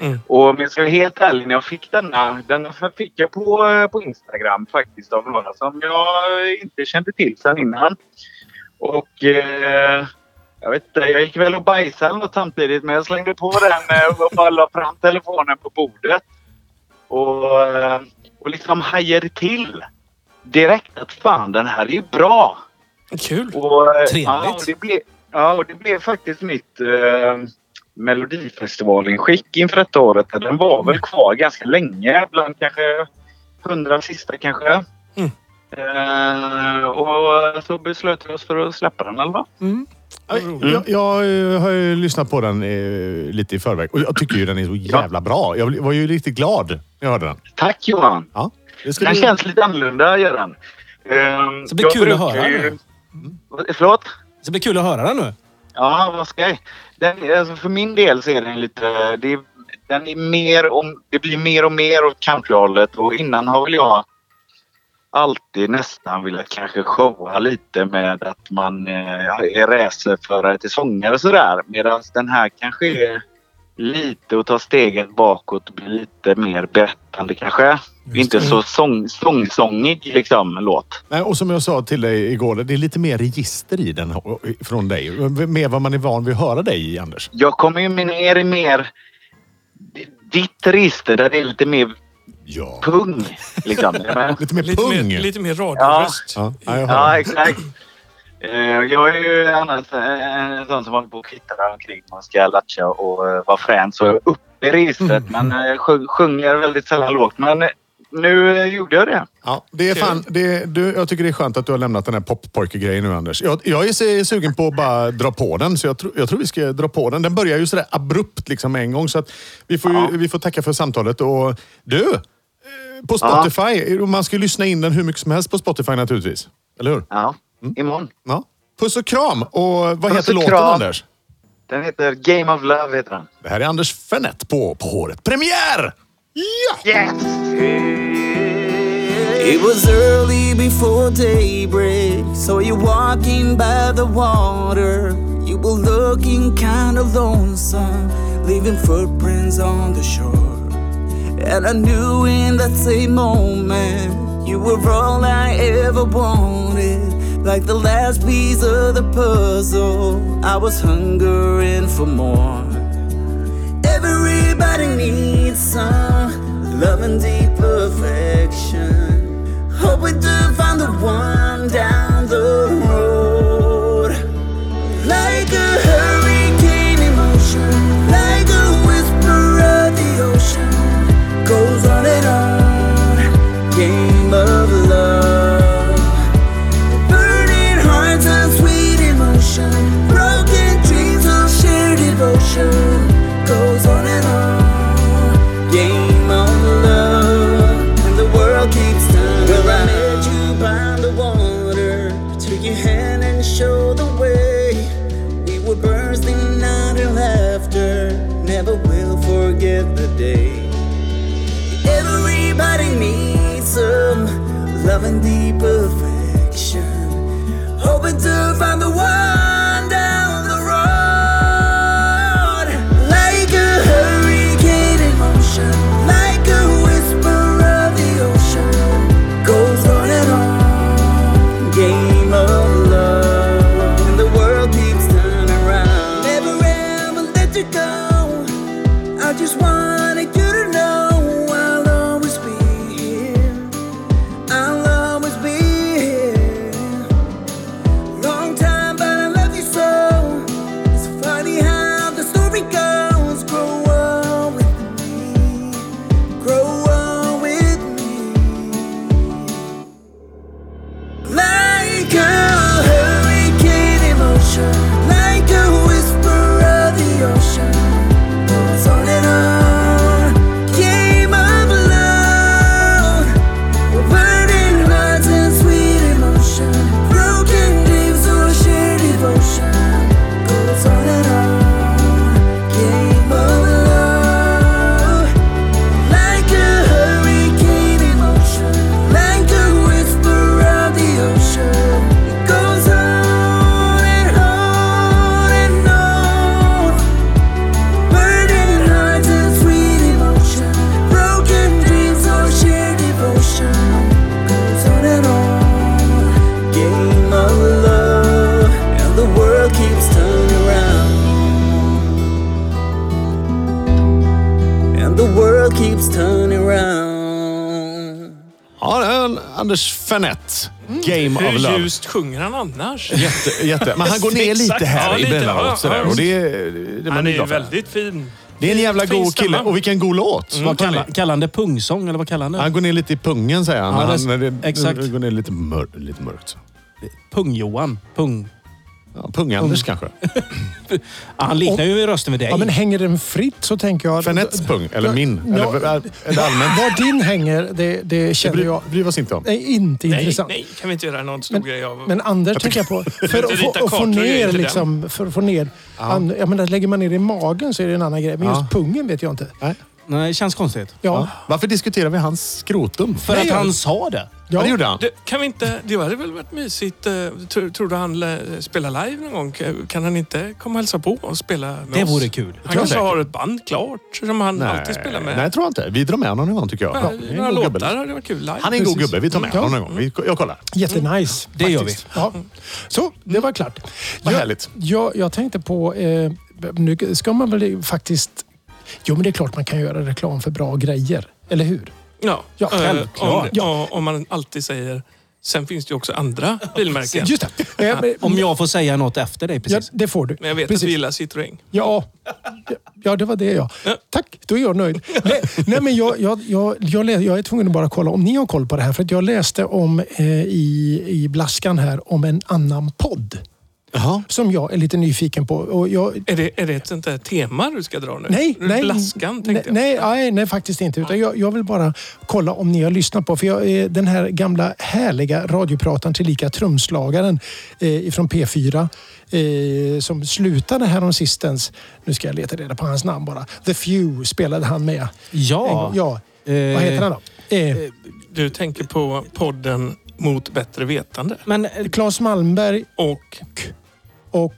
Mm.
Och om jag ska vara helt ärlig, när jag fick denna, den fick jag på, eh, på Instagram faktiskt av några som jag inte kände till sedan innan. Och eh, jag vet inte, jag gick väl och bajsade eller något samtidigt men jag slängde på den eh, och bara la fram telefonen på bordet. Och, eh, och liksom hajade till direkt att fan den här är ju bra.
Kul.
Och, eh,
Trevligt.
Ja, och det blev, ja, och det blev faktiskt mitt eh, Melodifestivalen-skick inför detta året. Den var väl kvar ganska länge, bland kanske hundra sista kanske.
Mm.
Eh, och så beslöt vi oss för att släppa den, eller vad?
Jag, jag eh, har ju lyssnat på den eh, lite i förväg och jag tycker ju den är så jävla bra. Jag bli- var ju riktigt glad när jag hörde den.
Tack Johan!
Ja. Det ska
Den
du-
känns lite annorlunda, gör den. Eh,
Så det blir
jag
kul att
brukar
höra
ju-
nu.
Vad- Förlåt?
Så det blir kul att höra den nu.
Ja, vad skoj. Den, alltså för min del så är den lite... Det, är- den är mer om, det blir mer och mer åt countryhållet och innan har väl jag alltid nästan velat kanske showa lite med att man eh, är racerförare till sångare och sådär. Medan den här kanske är lite att ta steget bakåt och bli lite mer berättande kanske. Inte så sång, sångsångig liksom låt.
Nej, och som jag sa till dig igår, det är lite mer register i den och- från dig. Mer vad man är van vid att höra dig i, Anders.
Jag kommer ju ner i mer ditt register där det är lite mer
Ja.
pung. Liksom.
Lite mer
Lite
pung.
mer, lite mer radioröst.
Ja, ja, jag hör
ja,
det.
exakt. Eh, Jag är ju annars eh, en sån som håller på och kittlar omkring och ska latcha och eh, vara frän. Så jag är uppe i registret men eh, sjung- sjunger väldigt sällan lågt. Men eh, nu eh, gjorde jag det.
Ja, det är fan, det, du, jag tycker det är skönt att du har lämnat den här poppojke-grejen nu, Anders. Jag, jag är se- sugen på att bara dra på den, så jag, tror- jag tror vi ska dra på den. Den börjar ju sådär abrupt liksom med en gång, så att vi, får ju, vi får tacka för samtalet. Och du, eh, på
Ja.
Spotify, man ska ju lyssna in den hur mycket som helst på Spotify naturligtvis. Eller hur?
Ja, imorgon.
Ja. Puss och kram! Och vad
och
heter låten,
kram.
Anders?
Den heter Game of Love. Heter den.
Det här är Anders Fennett på På håret. Premiär! Ja!
Yes!
It was early before daybreak, so you're walking by the water. You were looking kinda lonesome, leaving footprints on the shore. And I knew in that same moment, you were all I ever wanted. Like the last piece of the puzzle, I was hungering for more. Everybody needs some love and deep affection. Hoping to find the one down the road. Like a hurricane in motion, like a whisper of the ocean, goes on and on. Game of love. Burning hearts and sweet emotion, broken dreams of shared devotion. Goes on and on. Game of love, and the world keeps turning. Well, I met you by the water, took your hand and showed the way. We were bursting out in laughter, never will forget the day. Everybody needs some love and deep affection. Hoping to find the one down the road. Like a hurricane in motion, like a whisper of the ocean. Goes on and on. Game of love.
Like a hurricane emotion, like a whisper of the ocean. Goes on and on. Game of love, burning hearts and sweet emotion. Broken dreams or shared devotion. Goes on and on. Game of love. Like a hurricane emotion, like a whisper of the ocean. It goes on and on and on. Burning hearts and sweet emotion, broken dreams or shared devotion. Goes on and on. Game of love, and the world keeps turning around and the world keeps turning round.
Ja, det är en Anders Fenett. Game
Hur
of Love.
ljust sjunger han annars?
Jätte, jätte. Men han går ner
Exakt.
lite här
Ja,
i
lite. Ja, ja.
emellanåt. sådär. Och det, det, det, man
Han är
glad för.
väldigt Mm. fin.
det är en jävla
fin
god kille.
stämma.
Och vilken god låt.
Vad
Mm, Vad kallar-
kallar, kallar han det? Pungsång eller vad kallar han det?
Han går ner lite i pungen säger han.
Ja,
när
det-
han när det,
exakt.
det går ner lite, mör, lite mörkt.
Pung-Johan. Pung.
Ja,
Mm.
Pung-Anders kanske.
Ja, han liknar ju i rösten vid dig.
Ja, men hänger den fritt så tänker jag...
Fenets pung, eller min. Eller,
Ja,
eller allmänt.
Var din hänger, det, det
Det
känner
bryr,
jag
bryr vi oss inte om.
är inte
Nej,
intressant.
nej, kan vi inte göra någon stor grej av.
Men Anders tänker jag på. För att
Rita
få, att få
kartor är
ner
inte den.
liksom... För att få ner... And, jag menar, lägger man ner det i magen så är det en annan grej. Men
Ja.
just pungen vet jag inte.
Nej.
Nej, det känns konstigt.
Ja.
Varför diskuterar vi hans skrotum?
För
Nej,
att
jag-
han sa det.
Ja, det gjorde han.
Du, kan vi inte, det hade väl varit mysigt. eh, Tror, tror du han lä- spelar live någon gång? K- Kan han inte komma och hälsa på och spela med
Det
oss?
vore kul.
Han kanske
säkert.
har ett band klart som han alltid spelar med.
nej, tror jag inte. Vi drar med honom någon tycker jag.
Ja,
Ja, det är en
Några
god gubbe.
låtar hade varit kul live.
Han är en god
Precis.
gubbe. Vi tar med honom någon gång. Vi, jag kollar.
Jättenice.
Det gör vi.
Ja. Så, det var klart.
Vad
jag,
härligt.
Jag, jag tänkte på... Eh, nu ska man väl faktiskt... Jo, men det är klart man kan göra reklam för bra grejer. Eller hur?
Ja,
Ja,
eh,
självklart.
om, ja, om man alltid säger... Sen finns det ju också andra bilmärken.
Just det. Eh, men-
Om jag får säga något efter dig
Ja,
precis.
det får du.
Men jag vet att du gillar Citroën.
Ja. ja, det var det ja. Tack, då är jag nöjd. Nej, nej men jag, jag, jag, jag, lä- jag är tvungen att bara kolla om ni har koll på det här. För att jag läste om eh, i, i Blaskan här om en annan podd.
Jaha.
Som jag är lite nyfiken på. Och jag,
Är det, är det ett sånt där tema du ska dra nu?
nej, nej,
Blaskan
nej,
tänkte jag.
nej, nej, nej, faktiskt inte. Utan jag, jag vill bara kolla om ni har lyssnat på. För jag, eh, den här gamla härliga radioprataren tillika trumslagaren eh, från P4 eh, som slutade häromsistens. Nu ska jag leta reda på hans namn bara. The Few spelade han med. En
Ja.
gång. ja.
Eh,
Vad heter han då? Eh,
Du tänker på podden Mot bättre vetande.
Men eh,
Claes Malmberg
Och
och...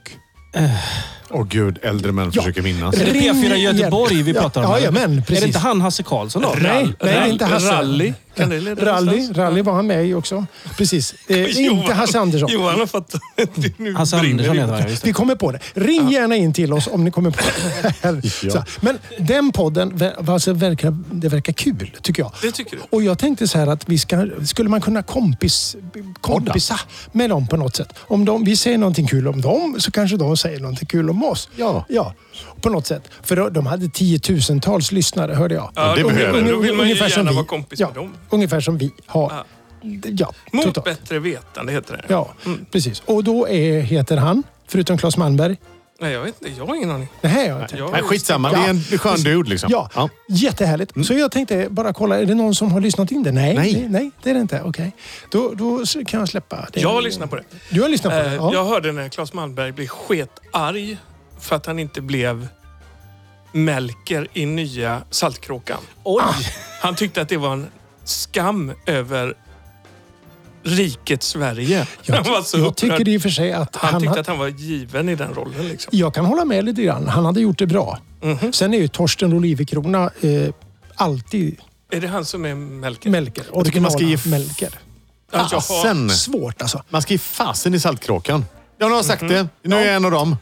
Åh gud, äldre män
Ja.
försöker minnas.
är det
Ring
P4
igen.
Göteborg vi
Ja,
pratar om?
ja,
eller?
ja, men
Är
precis.
det inte han Hasse Karlsson då?
Nej, nej, det är inte Hasse.
Rally. Kan det leda
Rally,
Eh, någonstans?
rally var han med i också. Precis. Eh, inte Hasse Andersson.
Johan har fattat. Nu
Hasse
brinner
Andersson
det.
heter han, just det.
Vi kommer på det. Ring gärna in till oss om ni kommer på det här. Så, men den podden, ver- alltså, verkar, det verkar kul tycker jag.
Det tycker du?
Och jag tänkte så här att vi ska, skulle man kunna kompis, kompisa med dem på något sätt? Om de, vi säger någonting kul om dem så kanske de säger någonting kul om oss.
Ja.
ja på något sätt. För de- de hade tiotusentals lyssnare hörde jag.
Ja,
det
då-
behöver
Då
du.
vill man ju
ungefär som
gärna
vi.
vara kompis
ja,
med dem.
Ungefär som vi har.
Ja.
Ja,
Mot
totalt.
bättre vetande heter det.
Ja, precis. Och då är, heter han, förutom Claes Malmberg,
Nej, jag vet inte. Jag har ingen aning.
Nej, jag tänkte-
Jag,
Men skitsamma, det är en skön dude liksom.
Ja,
Ja.
jättehärligt. Så jag tänkte bara kolla, är det någon som har lyssnat in det? Nej,
Nej.
det, nej, det är det inte. Okej. Då, då s- kan jag släppa det.
jag lyssnar på det.
Du har lyssnat på det?
Eh,
Ja.
Jag hörde när Claes Malmberg blev sketarg för att han inte blev Melker i nya Saltkråkan. Ah.
Oj!
Han tyckte att det var en skam över riket Sverige.
Jag,
han var så
jag
upprörd.
tycker i och för sig att
han,
han,
tyckte
har-
att han var given i den rollen. Liksom.
Jag kan hålla med lite grann. Han hade gjort det bra. Sen är ju Torsten Olivecrona eh, alltid
Är det han som är Melker?
Melker. Jag
tycker man ska ge f-
Melker.
Alltså,
Fasen!
Svårt alltså.
Man ska ge fasen i Saltkråkan. Ja, nu har jag sagt det. Nu är jag en av dem.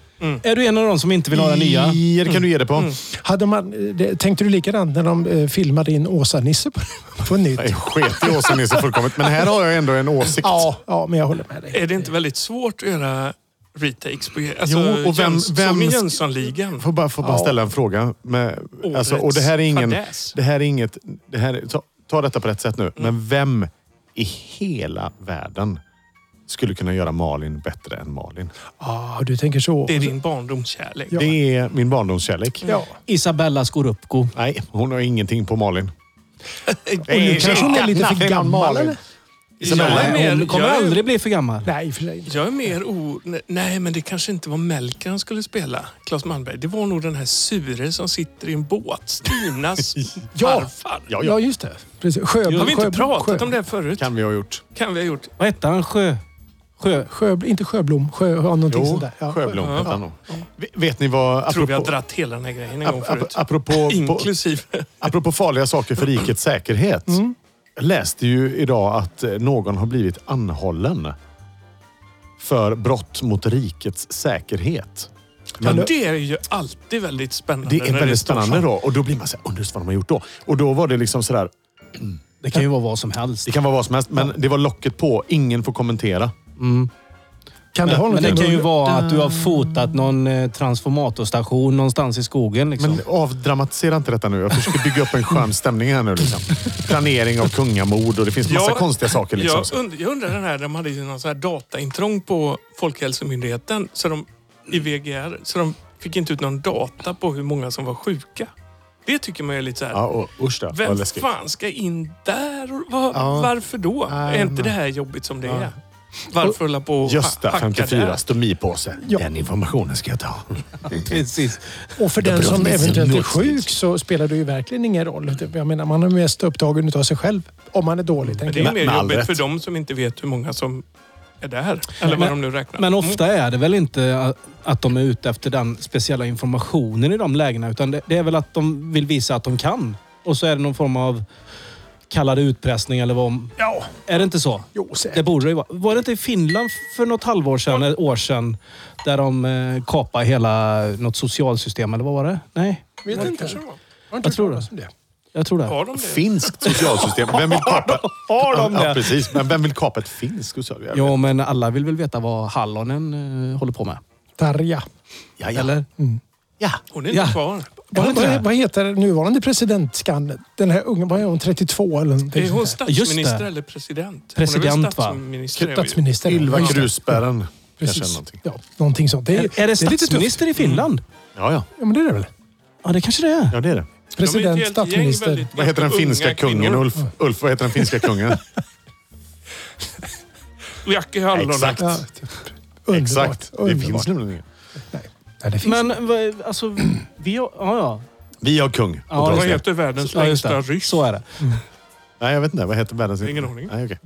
Är du en av dem som inte vill ha den nya?
I, det kan du ge det på.
Hade man, eh, det- tänkte du likadant när de eh, filmade in Åsa-Nisse på, på nytt?
Jag sket i Åsa-Nisse fullkomligt, men här har jag ändå en åsikt.
Ja, ja, men jag håller med dig.
Är det inte väldigt svårt att göra retakes? På, alltså,
Jo, och vem-
Jöns,
vem
som i
sk-
Jönssonligan.
Får bara, får bara ställa en fråga. Med,
Årets
alltså, och det här är ingen...
fadäs.
Det här är inget... Det här, är- ta, ta detta på rätt sätt nu. Men vem i hela världen skulle kunna göra Malin bättre än Malin.
Ah, du tänker så.
Det är din barndomskärlek.
Ja.
Det är min barndomskärlek.
Ja.
Isabella Skorupko.
Nej, hon har ingenting på Malin.
Och nu kanske hon är lite för gammal eller?
Jag är mer-
Hon kommer
jag är-
aldrig bli för gammal.
Nej, för sig inte.
Jag är mer o... Nej, men det kanske inte var Melker han skulle spela, Claes Malmberg. Det var nog den här sure som sitter i en båt. Stinas
Ja.
farfar.
Ja, ja.
Ja, just det. Precis. Sjöblom.
Har vi inte
Sjöblom-
pratat
Sjö-
om det här förut?
Kan vi ha gjort.
Kan vi ha gjort.
Vad hette han? Sjö... Sjö...
Sjöblom, inte Sjöblom. Sjö, ja, någonting sånt
Jo,
där.
Sjöblom hette han nog. Ve- Vet ni vad...
tror vi har
apropå-
dratt hela den här grejen en gång
Ap- ap-
förut.
apropå, på,
Inklusive.
apropå farliga saker för rikets säkerhet. Jag läste ju idag att eh, någon har blivit anhållen för brott mot rikets säkerhet.
Ja,
Men
det är ju alltid väldigt spännande.
det är
när
väldigt
står så.
spännande då. Och då blir man så här, undrar just vad de har gjort då? Och då var det liksom sådär,
Det kan ju vara vad som helst.
det kan vara vad som helst, men det var locket på. Ingen får kommentera.
Kan det ha något
Men det kan ju
med-
vara att du har fotat någon eh, transformatorstation någonstans i skogen. Liksom.
Men avdramatisera inte detta nu. Jag försöker bygga upp en skön stämning här nu. Liksom. Planering av kungamord och det finns massa
Ja,
konstiga saker. Liksom.
Jag, und jag undrar den här, de hade ju någon sån här dataintrång på Folkhälsomyndigheten så de, i VGR. Så de fick inte ut någon data på hur många som var sjuka. Det tycker man ju är lite så här.
Ja, och, usch då, vad
Vem
läskigt.
fan ska in där? Och var,
Ja.
Varför då?
Nej,
är inte
men-
det här jobbigt som det är? Varför hålla på och
Just det,
ha- hacka
54.
där?
Stomipåse.
Ja.
Den informationen ska jag ta.
Mm.
Precis.
Och för den
beror
som
på vilken
eventuellt är
låt.
sjuk så spelar det ju verkligen ingen roll. Typ, Jag menar, man är mest upptagen utav sig själv om man är dålig.
Men
Tänker
det är ju
Med-
mer
med all
jobbigt
rätt.
för dem som inte vet hur många som är där. Eller vad de nu räknar.
Men
Mm.
ofta är det väl inte a- att de är ute efter den speciella informationen i de lägena. Utan det, det är väl att de vill visa att de kan. Och så är det någon form av kallad utpressning eller vad...
Ja.
Är det inte så?
Jo, säkert.
Det borde det ju vara. Var det inte i Finland för något halvår sedan, eller år sedan, där de eh, kapade hela något socialsystem, eller vad var det? Nej,
jag
Vet inte, tror jag.
Har inte
jag tror
hört
det.
talas om det.
Jag tror det.
Har de det?
Finskt socialsystem. Vem vill kapa...
Har de
Ja,
det?
precis. Men vem vill kapa ett finskt socialsystem?
Ja, men alla vill väl veta vad hallonen eh, håller på med?
Tarja.
ja, ja.
Eller?
Ja.
Hon är inte
Ja.
kvar.
Vad,
inte det?
vad, vad heter nuvarande presidentskan? Den här unga, vad är hon, 32 eller någonting
Är hon
sånt där?
Just
statsminister
det.
eller president? hon är
President,
väl
va?
statsminister, är vi ju.
Statsminister.
Ylva
Ja,
Krusbären. Kanske eller
Precis.
någonting.
Ja, någonting sånt. Det är,
Är, är det
är lite tufft.
statsminister i Finland?
Ja, ja.
Ja, men det är det väl?
Ja, det kanske det är.
Ja, det är det.
De är ett
President,
helt gäng
statsminister.
väldigt-
Vad heter den
unga
finska kungen,
kvinnor.
Ulf? Ulf, vad heter den finska kungen?
Jackie Hallon.
Exakt.
Ja, typ. Underbart.
Exakt. Det
underbart.
finns nämligen ingen.
Nej, det finns
Men vad- alltså, vi har... Ja, ja.
Vi har kung. och
Ja,
Vad
president.
heter världens
ja just
längsta
det.
ryss?
Så är det.
Nej, jag vet inte. Vad heter världens...
Ingen aning.
Nej, okej.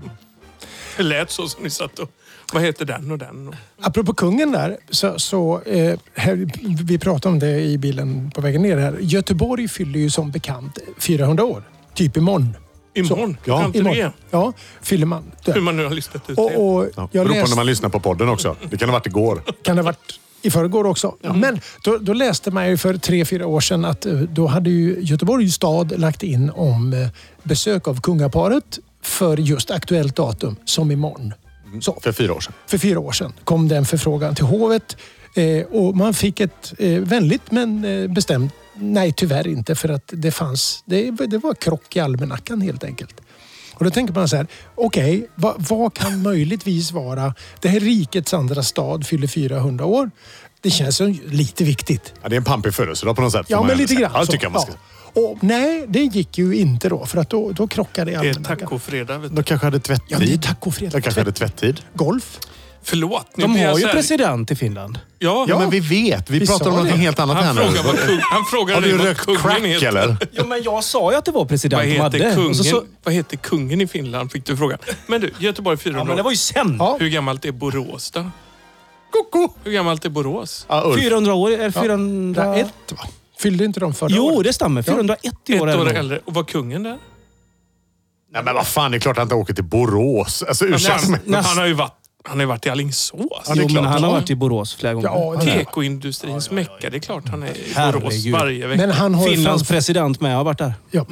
Det lät så som ni satt och... Vad heter den och den? Och...
Apropå kungen där, så, så eh, här, vi pratade om det i bilen på vägen ner här. Göteborg fyller ju som bekant 400 år, typ imorgon.
Imorgon?
Ja,
Kan inte
Imorgon.
det?
Ja, fyller man.
Hur man nu har listat ut det.
Och, och
Ja, beror
jag
på
läste,
när man lyssnar på podden också. Det kan ha varit igår.
kan det ha varit i förrgår också. Men då, då läste man ju för tre, fyra år sedan att eh, då hade ju Göteborgs stad lagt in om eh, besök av kungaparet för just aktuellt datum, som imorgon. Så.
För fyra år sedan.
för fyra år sedan kom den förfrågan till hovet eh, och man fick ett eh, vänligt men eh, bestämt nej, tyvärr inte för att det fanns, det, det var krock i almanackan helt enkelt. Och då tänker man så här, okej, vad, vad kan möjligtvis vara, det här rikets andra stad fyller 400 år. Det känns som lite viktigt.
Ja, det är en pampig födelsedag på något sätt. får
Ja,
man
men
ändå
lite
säga.
grann.
Ja, det
så.
tycker jag man ska.
Ja. Och, nej, det gick ju inte då för att då, då krockade
Eh,
Det är
almanackan.
tacofredag. Vet du.
De kanske hade tvättid.
Ja, det är tacofredag.
De kanske hade tvättid.
Golf.
Förlåt. Nu
De
blir jag
har ju
så här-
president i Finland.
Ja,
Ja, men vi vet. Vi, pratar
sa
om något
det.
helt annat här
han, frågar
nu.
vad kung, han frågar
Har
dig
du
vad
rökt
kungen
crack
heter.
eller?
Jo, men jag sa ju att det var president
Vad
de hade.
heter, kungen,
Och så, så,
vad heter kungen i Finland? Fick du frågan. Men du, Göteborg 400
ja, men det var ju sen.
Ja.
Hur gammalt är Borås då?
Koko!
Hur gammalt är Borås?
Ja, Ulf.
400 år. Är det 400...
101 va? Fyllde inte de förra
Jo,
året?
det stämmer. 401
Ett
år
år
är det nog.
äldre. Och var kungen där?
Nej men vad fan, det är klart att han inte åker till Borås. Alltså ursäkta mig.
han,
näst-
han har ju varit, han har ju varit i Alingsås.
Jo, men
klart.
han har varit i Borås flera gånger.
Ja, det-
Tekoindustrins mecka. Det är klart han är i Borås
Herregud.
varje vecka.
Men han har ju
Finlands
framför-
president med har varit där.
Ja.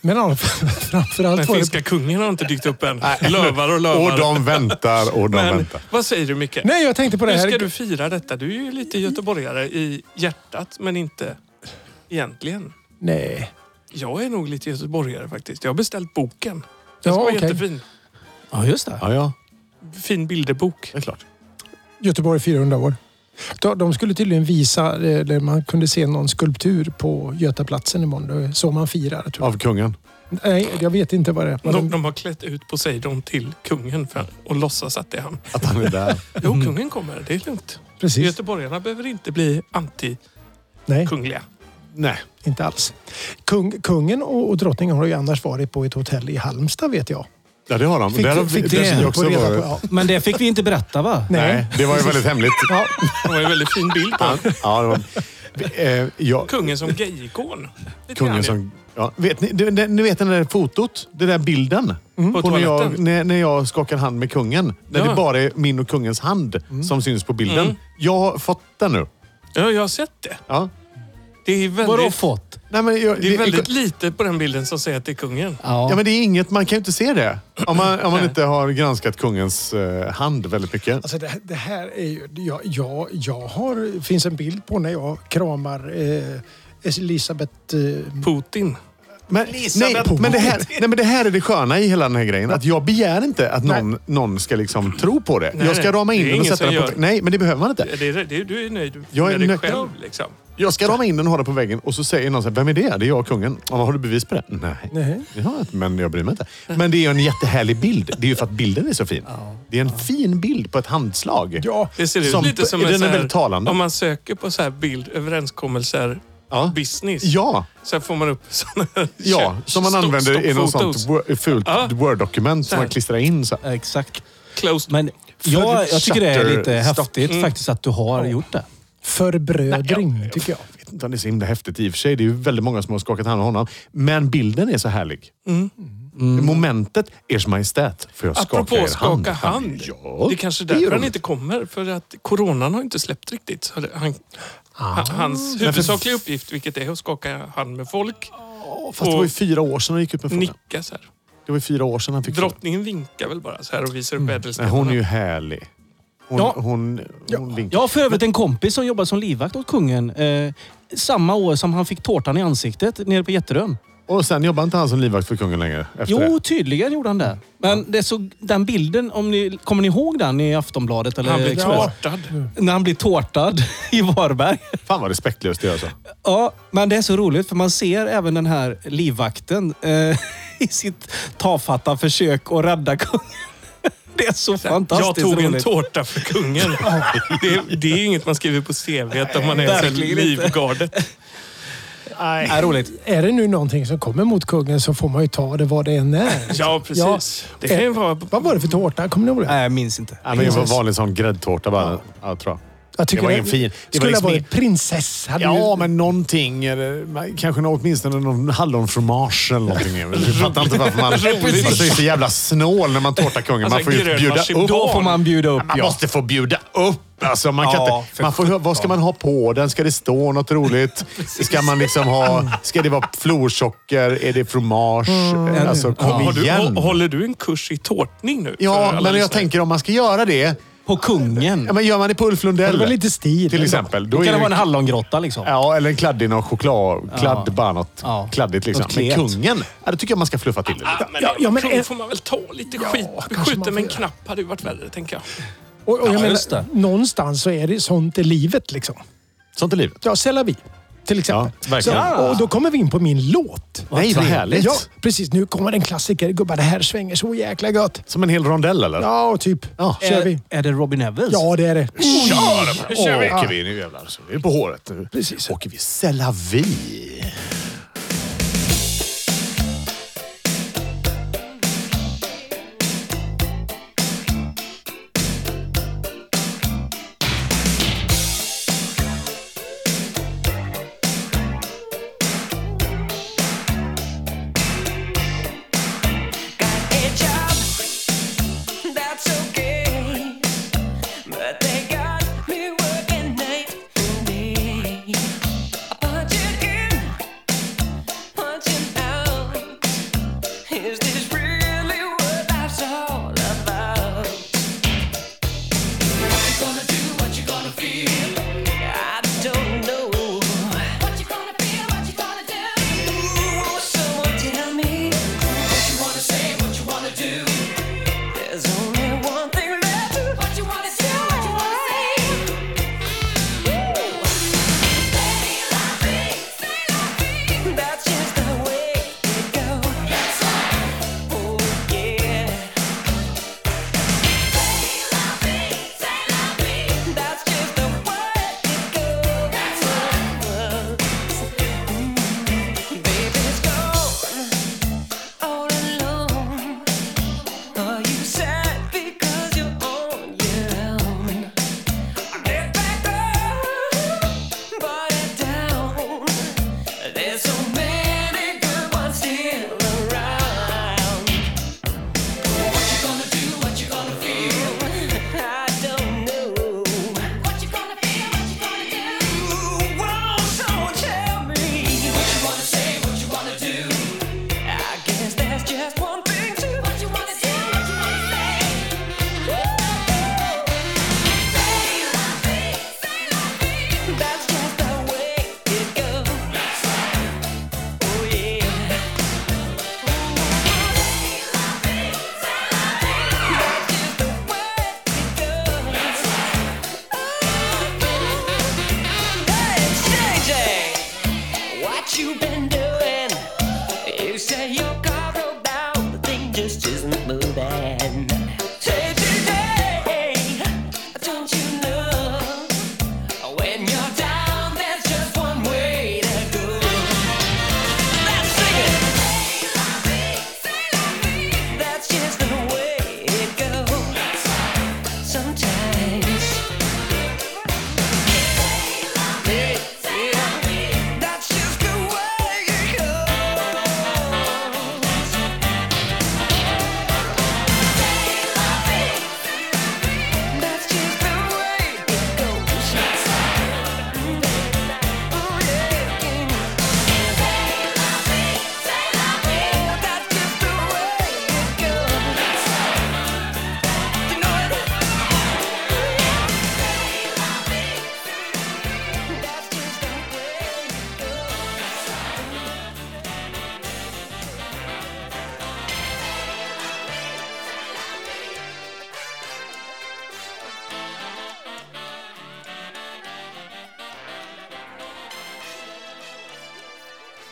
Men han, framförallt
Den
var
finska
det...
kungen har inte dykt upp än. Lövar och lövar.
Och de väntar och de
Men
väntar.
vad säger du Micke?
Nej, jag tänkte på det
Hur
här.
ska du fira detta? Du är ju lite göteborgare i hjärtat, men inte egentligen.
Nej.
Jag är nog lite göteborgare faktiskt. Jag har beställt boken. Den ska
Ja,
vara
okej.
jättefin.
Ja, just det.
Ja, ja.
fin bilderbok.
Det är klart.
Göteborg 400 år. De- De skulle tydligen visa, eh, där man kunde se någon skulptur på Götaplatsen imorgon. Det är Så man firar. Tror jag.
Av kungen.
Nej, jag vet inte vad det är.
De, de har klätt ut Poseidon till kungen för, och låtsas att det är han.
Att han är där.
Jo, kungen kommer. Det är lugnt.
Precis.
Göteborgarna behöver inte bli anti-kungliga.
Nej,
Nej.
inte alls. Kung, kungen och, och drottningen har ju annars varit på ett hotell i Halmstad vet jag.
Ja, det har han. där har vi,
fick
där
det
har vi
på
också
Får reda på-
varit.
ja.
Men det fick vi inte berätta va?
Nej,
Nej.
det var ju väldigt hemligt. Ja.
Det var en väldigt fin bild på honom.
Ja, det var, eh, jag,
Kungen som gayikon. Lite grann
kungen
ju.
som... Ja, vet ni, det, det, ni vet den där fotot? Den där bilden?
Mm. På
när, jag,
toaletten.
när, när jag skakar hand med kungen. Där
Ja.
det bara är min och kungens hand som syns på bilden.
Mm.
Jag har fått den nu.
Ja, jag har sett det.
Ja.
Det är
Vadå
väldigt,
fått?
Nej, men jag,
det är väldigt
det,
lite på den bilden som säger att det är kungen.
Ja.
ja, men det är inget, man kan ju inte se det. Om man, om man
Nej.
inte har granskat kungens eh, hand väldigt mycket.
Alltså det, det här är ju... Jag, jag, jag har... finns en bild på när jag kramar eh, Elisabeth... Eh,
Putin.
Men, nej,
Putin.
men det här, nej, men det här är det sköna i hela den här grejen. Att jag begär inte att någon, någon ska liksom tro på det.
Nej,
jag ska
nej.
rama
Det är
in den och sätta
ingen som
den på...
gör det.
Nej, men det behöver man inte.
Det, det, det, du är nöjd
Jag är
med dig
nöjd.
själv liksom.
Jag ska rama in den och ha den på väggen och så säger någon så här, vem är det? Det är jag, kungen. Ja, har du bevis på det? Nej,
Nej.
det har jag inte, men jag bryr mig inte. Men det är ju en jättehärlig bild. Det är ju för att bilden är så fin. Det är en fin bild på ett handslag.
ja,
Det ser ut
Som-
lite som en
den
så
är
här,
väldigt talande.
Om man söker på så här bild, överenskommelser,
Ja.
business.
Ja,
Sen får man upp sådana här
ja
kö-
som man
stopp-
använder i något
stoppfotos.
sånt wo- fult
Ja.
Word-dokument som
Där.
man klistrar in. Så. här.
Ja, Exakt.
Closed.
Men jag, jag tycker det är lite
Shutter stock.
häftigt faktiskt att du har gjort det.
förbrödring tycker jag.
Jag vet inte om det är så himla häftigt i och för sig. Det är ju väldigt många som har skakat hand om honom. Men bilden är så härlig. Mm. Momentet, Ers Majestät, får jag skaka
Apropå
er hand?
skaka hand.
Ja,
Det är kanske är
det
därför
gör
han
de.
inte kommer. För att coronan har inte släppt riktigt. Så det- han,
Ah.
ha- hans huvudsakliga uppgift, vilket är att skaka hand med folk,
Fast det var ju fyra år sedan han gick ut med frågan.
nicka så här.
Det var ju fyra år sedan han fick frågan.
Drottningen vinkar väl bara så här och visar upp
Nej,
ädelstenarna.
Mm. hon är ju härlig. Hon,
Ja.
hon, hon vinkar.
Jag har för övrigt en kompis som jobbade som livvakt åt kungen. Eh, samma år som han fick tårtan i ansiktet nere på Jätterön.
Och sen jobbar inte han som livvakt för kungen längre. Efter
Jo,
det.
tydligen gjorde han det. Men det så, den bilden, om ni, kommer ni ihåg den i Aftonbladet? Eller
Han blir
Expressen?
tårtad.
När han blir tårtad i Varberg.
Fan vad respektlöst det är alltså.
Ja, men det är så roligt för man ser även den här livvakten eh, i sitt tafatta försök att rädda kungen. Det är så
Jag
fantastiskt
tog en
roligt.
tårta för kungen. det, det är inget man skriver på CV att om man är så här
Verkligen inte.
livgardet.
Det är roligt.
Är det nu någonting som kommer mot kungen så får man ju ta det vad det än är. Eh,
Ja, precis. Det kan ju vara...
Vad var det för tårta? Kommer ni ihåg det?
Nej, jag minns inte.
Ja, men det var en vanlig sån gräddtårta bara. Ja, tror jag.
Jag tycker
det var ingen fin. Det var
skulle ha
liksom
varit prinsessa. hade
Ja,
ju-
men någonting. eller, men Kanske nå- åtminstone någon hallonfromage eller någonting. Jag fattar inte varför man alltså, är så jävla snål när man tårtar kungen. Man
Alltså,
får ju
grön
bjuda
marsipan.
upp.
Då får man bjuda upp,
Man
ja.
måste få bjuda upp. Alltså, man kan
Ja,
inte,
för
man får, hö- vad ska man ha på den? Ska det stå något roligt? Ska, man liksom ha, ska det vara florsocker? Är det fromage? Alltså, kom
Har du,
igen.
hå- håller du en kurs i tårtning nu? För alla
Ja, men
lyssnare?
jag tänker om man ska göra det.
På kungen.
Ja, men gör man det på Ulf
Det
Lundell
var lite stil.
till exempel. Då
Då
är
kan det
det
vara en hallongrotta liksom.
Ja, eller en kladdig inom choklad. Kladd, bara något
Ja.
kladdigt liksom.
Något
Men
klet.
kungen, ja, det tycker jag man ska fluffa till det lite.
Ja, men,
Ja, ja, men-
kung får man väl ta lite skit.
kanske man
Skjuta
får
med en
göra.
knapp hade ju varit värre, tänker jag.
Och, och jag
Ja, just
menar,
det.
någonstans så är det sånt i livet liksom.
Sånt är livet.
Ja, c'est la vie. Till exempel.
Ja, verkligen.
så, och då kommer vi in på min låt.
Nej, vad härligt.
Ja, precis. Nu kommer en klassiker. Gubbar, det här svänger så jäkla gött.
Som en hel rondell eller?
Ja, typ.
Ja.
Kör vi.
Är, är det Robin Evans?
Ja, det är det.
Kör! Nu
Åh, ja.
åker vi nu jävlar. Så vi är på håret nu.
Precis.
åker vi C'est la vie.
Got a job, that's okay. But they got me working night and day. I punch it in,
Oh,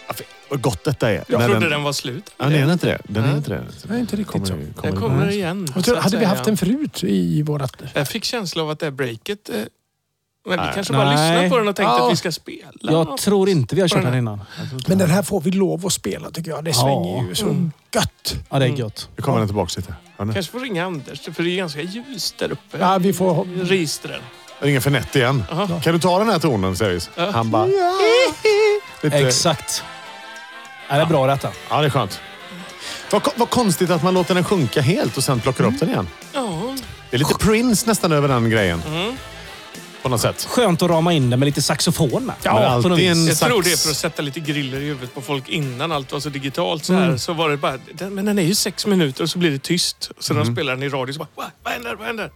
Oh,
Vad gott detta är.
Jag
När
trodde den var slut.
Ja, den är inte det. Den är
Nej.
inte det.
Nej, inte riktigt så.
ju-
Den
ju-
kommer igen.
Jag
så
tror,
att
hade vi
säga.
haft den förut i vårat...
Jag fick känsla av att det här breaket... eh, Men vi
Nej.
kanske bara
Nej.
lyssnade på den och tänkte
Ja.
att vi ska spela.
Jag tror inte vi har kört den innan.
Men den här får vi lov att spela tycker jag. Det svänger ju så gött.
Ja, det är gött.
Nu kommer den tillbaka lite. Ja, nu.
Kanske får ringa Anders, för det är ganska ljust där uppe.
Ja, vi får...
I Registren.
Ringer Fernet igen.
Aha.
Kan du ta den här tonen, Serius? Han bara... Lite-
Exakt. Ja, det är bra detta.
Ja, det är skönt. Vad, ko- vad konstigt att man låter den sjunka helt och sen plockar upp den igen.
Ja.
Det är lite Prince nästan över den grejen. På något sätt.
Skönt att rama in den med lite saxofon. med.
Men
på något
alltid
vis.
en
Jag
sax.
tror det är för att sätta lite griller i huvudet på folk innan allt var så digitalt. Så, här, så var det bara, den, men den är ju sex minuter och så blir det tyst. Så när de spelar den i radio så bara, "Va? vad händer, vad händer?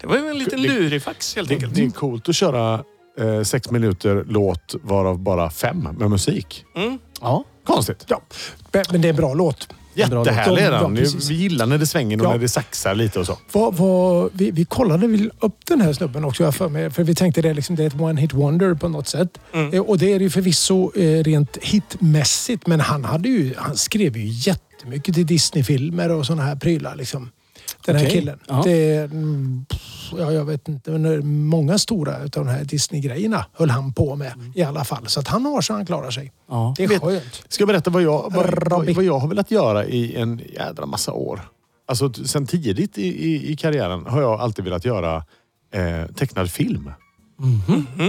Det var ju en liten
Det-
lurifax helt
Det,
enkelt.
det är coolt att köra eh, sex minuter låt varav bara fem med musik.
Ja.
Konstigt. Ja.
Men det är en bra låt.
En bra låt.
Jättehärlig är
Ja,
den.
precis.
Vi gillar när det svänger och
Ja.
när det saxar lite och så.
Vad, vad, vi, vi kollade väl upp den här snubben också, jag för mig. För vi tänkte det, är liksom, det är ett one-hit wonder på något sätt. Eh, Och det är det ju förvisso eh, rent hitmässigt, men han, hade ju, han skrev ju jättemycket till Disney-filmer och sådana här prylar. Liksom. Den här
Okej.
killen.
Ja.
Det, mm, pff, ja, jag vet inte, men många stora av de här Disney-grejerna höll han på med i alla fall. Så att han har så han klarar sig.
Ja.
Det är
Vet-
skönt.
Ska jag berätta vad jag, vad,
Robby.
vad, vad jag har velat göra i en jädra massa år? Alltså t- sen tidigt i, i, i karriären har jag alltid velat göra eh, tecknad film. Eh,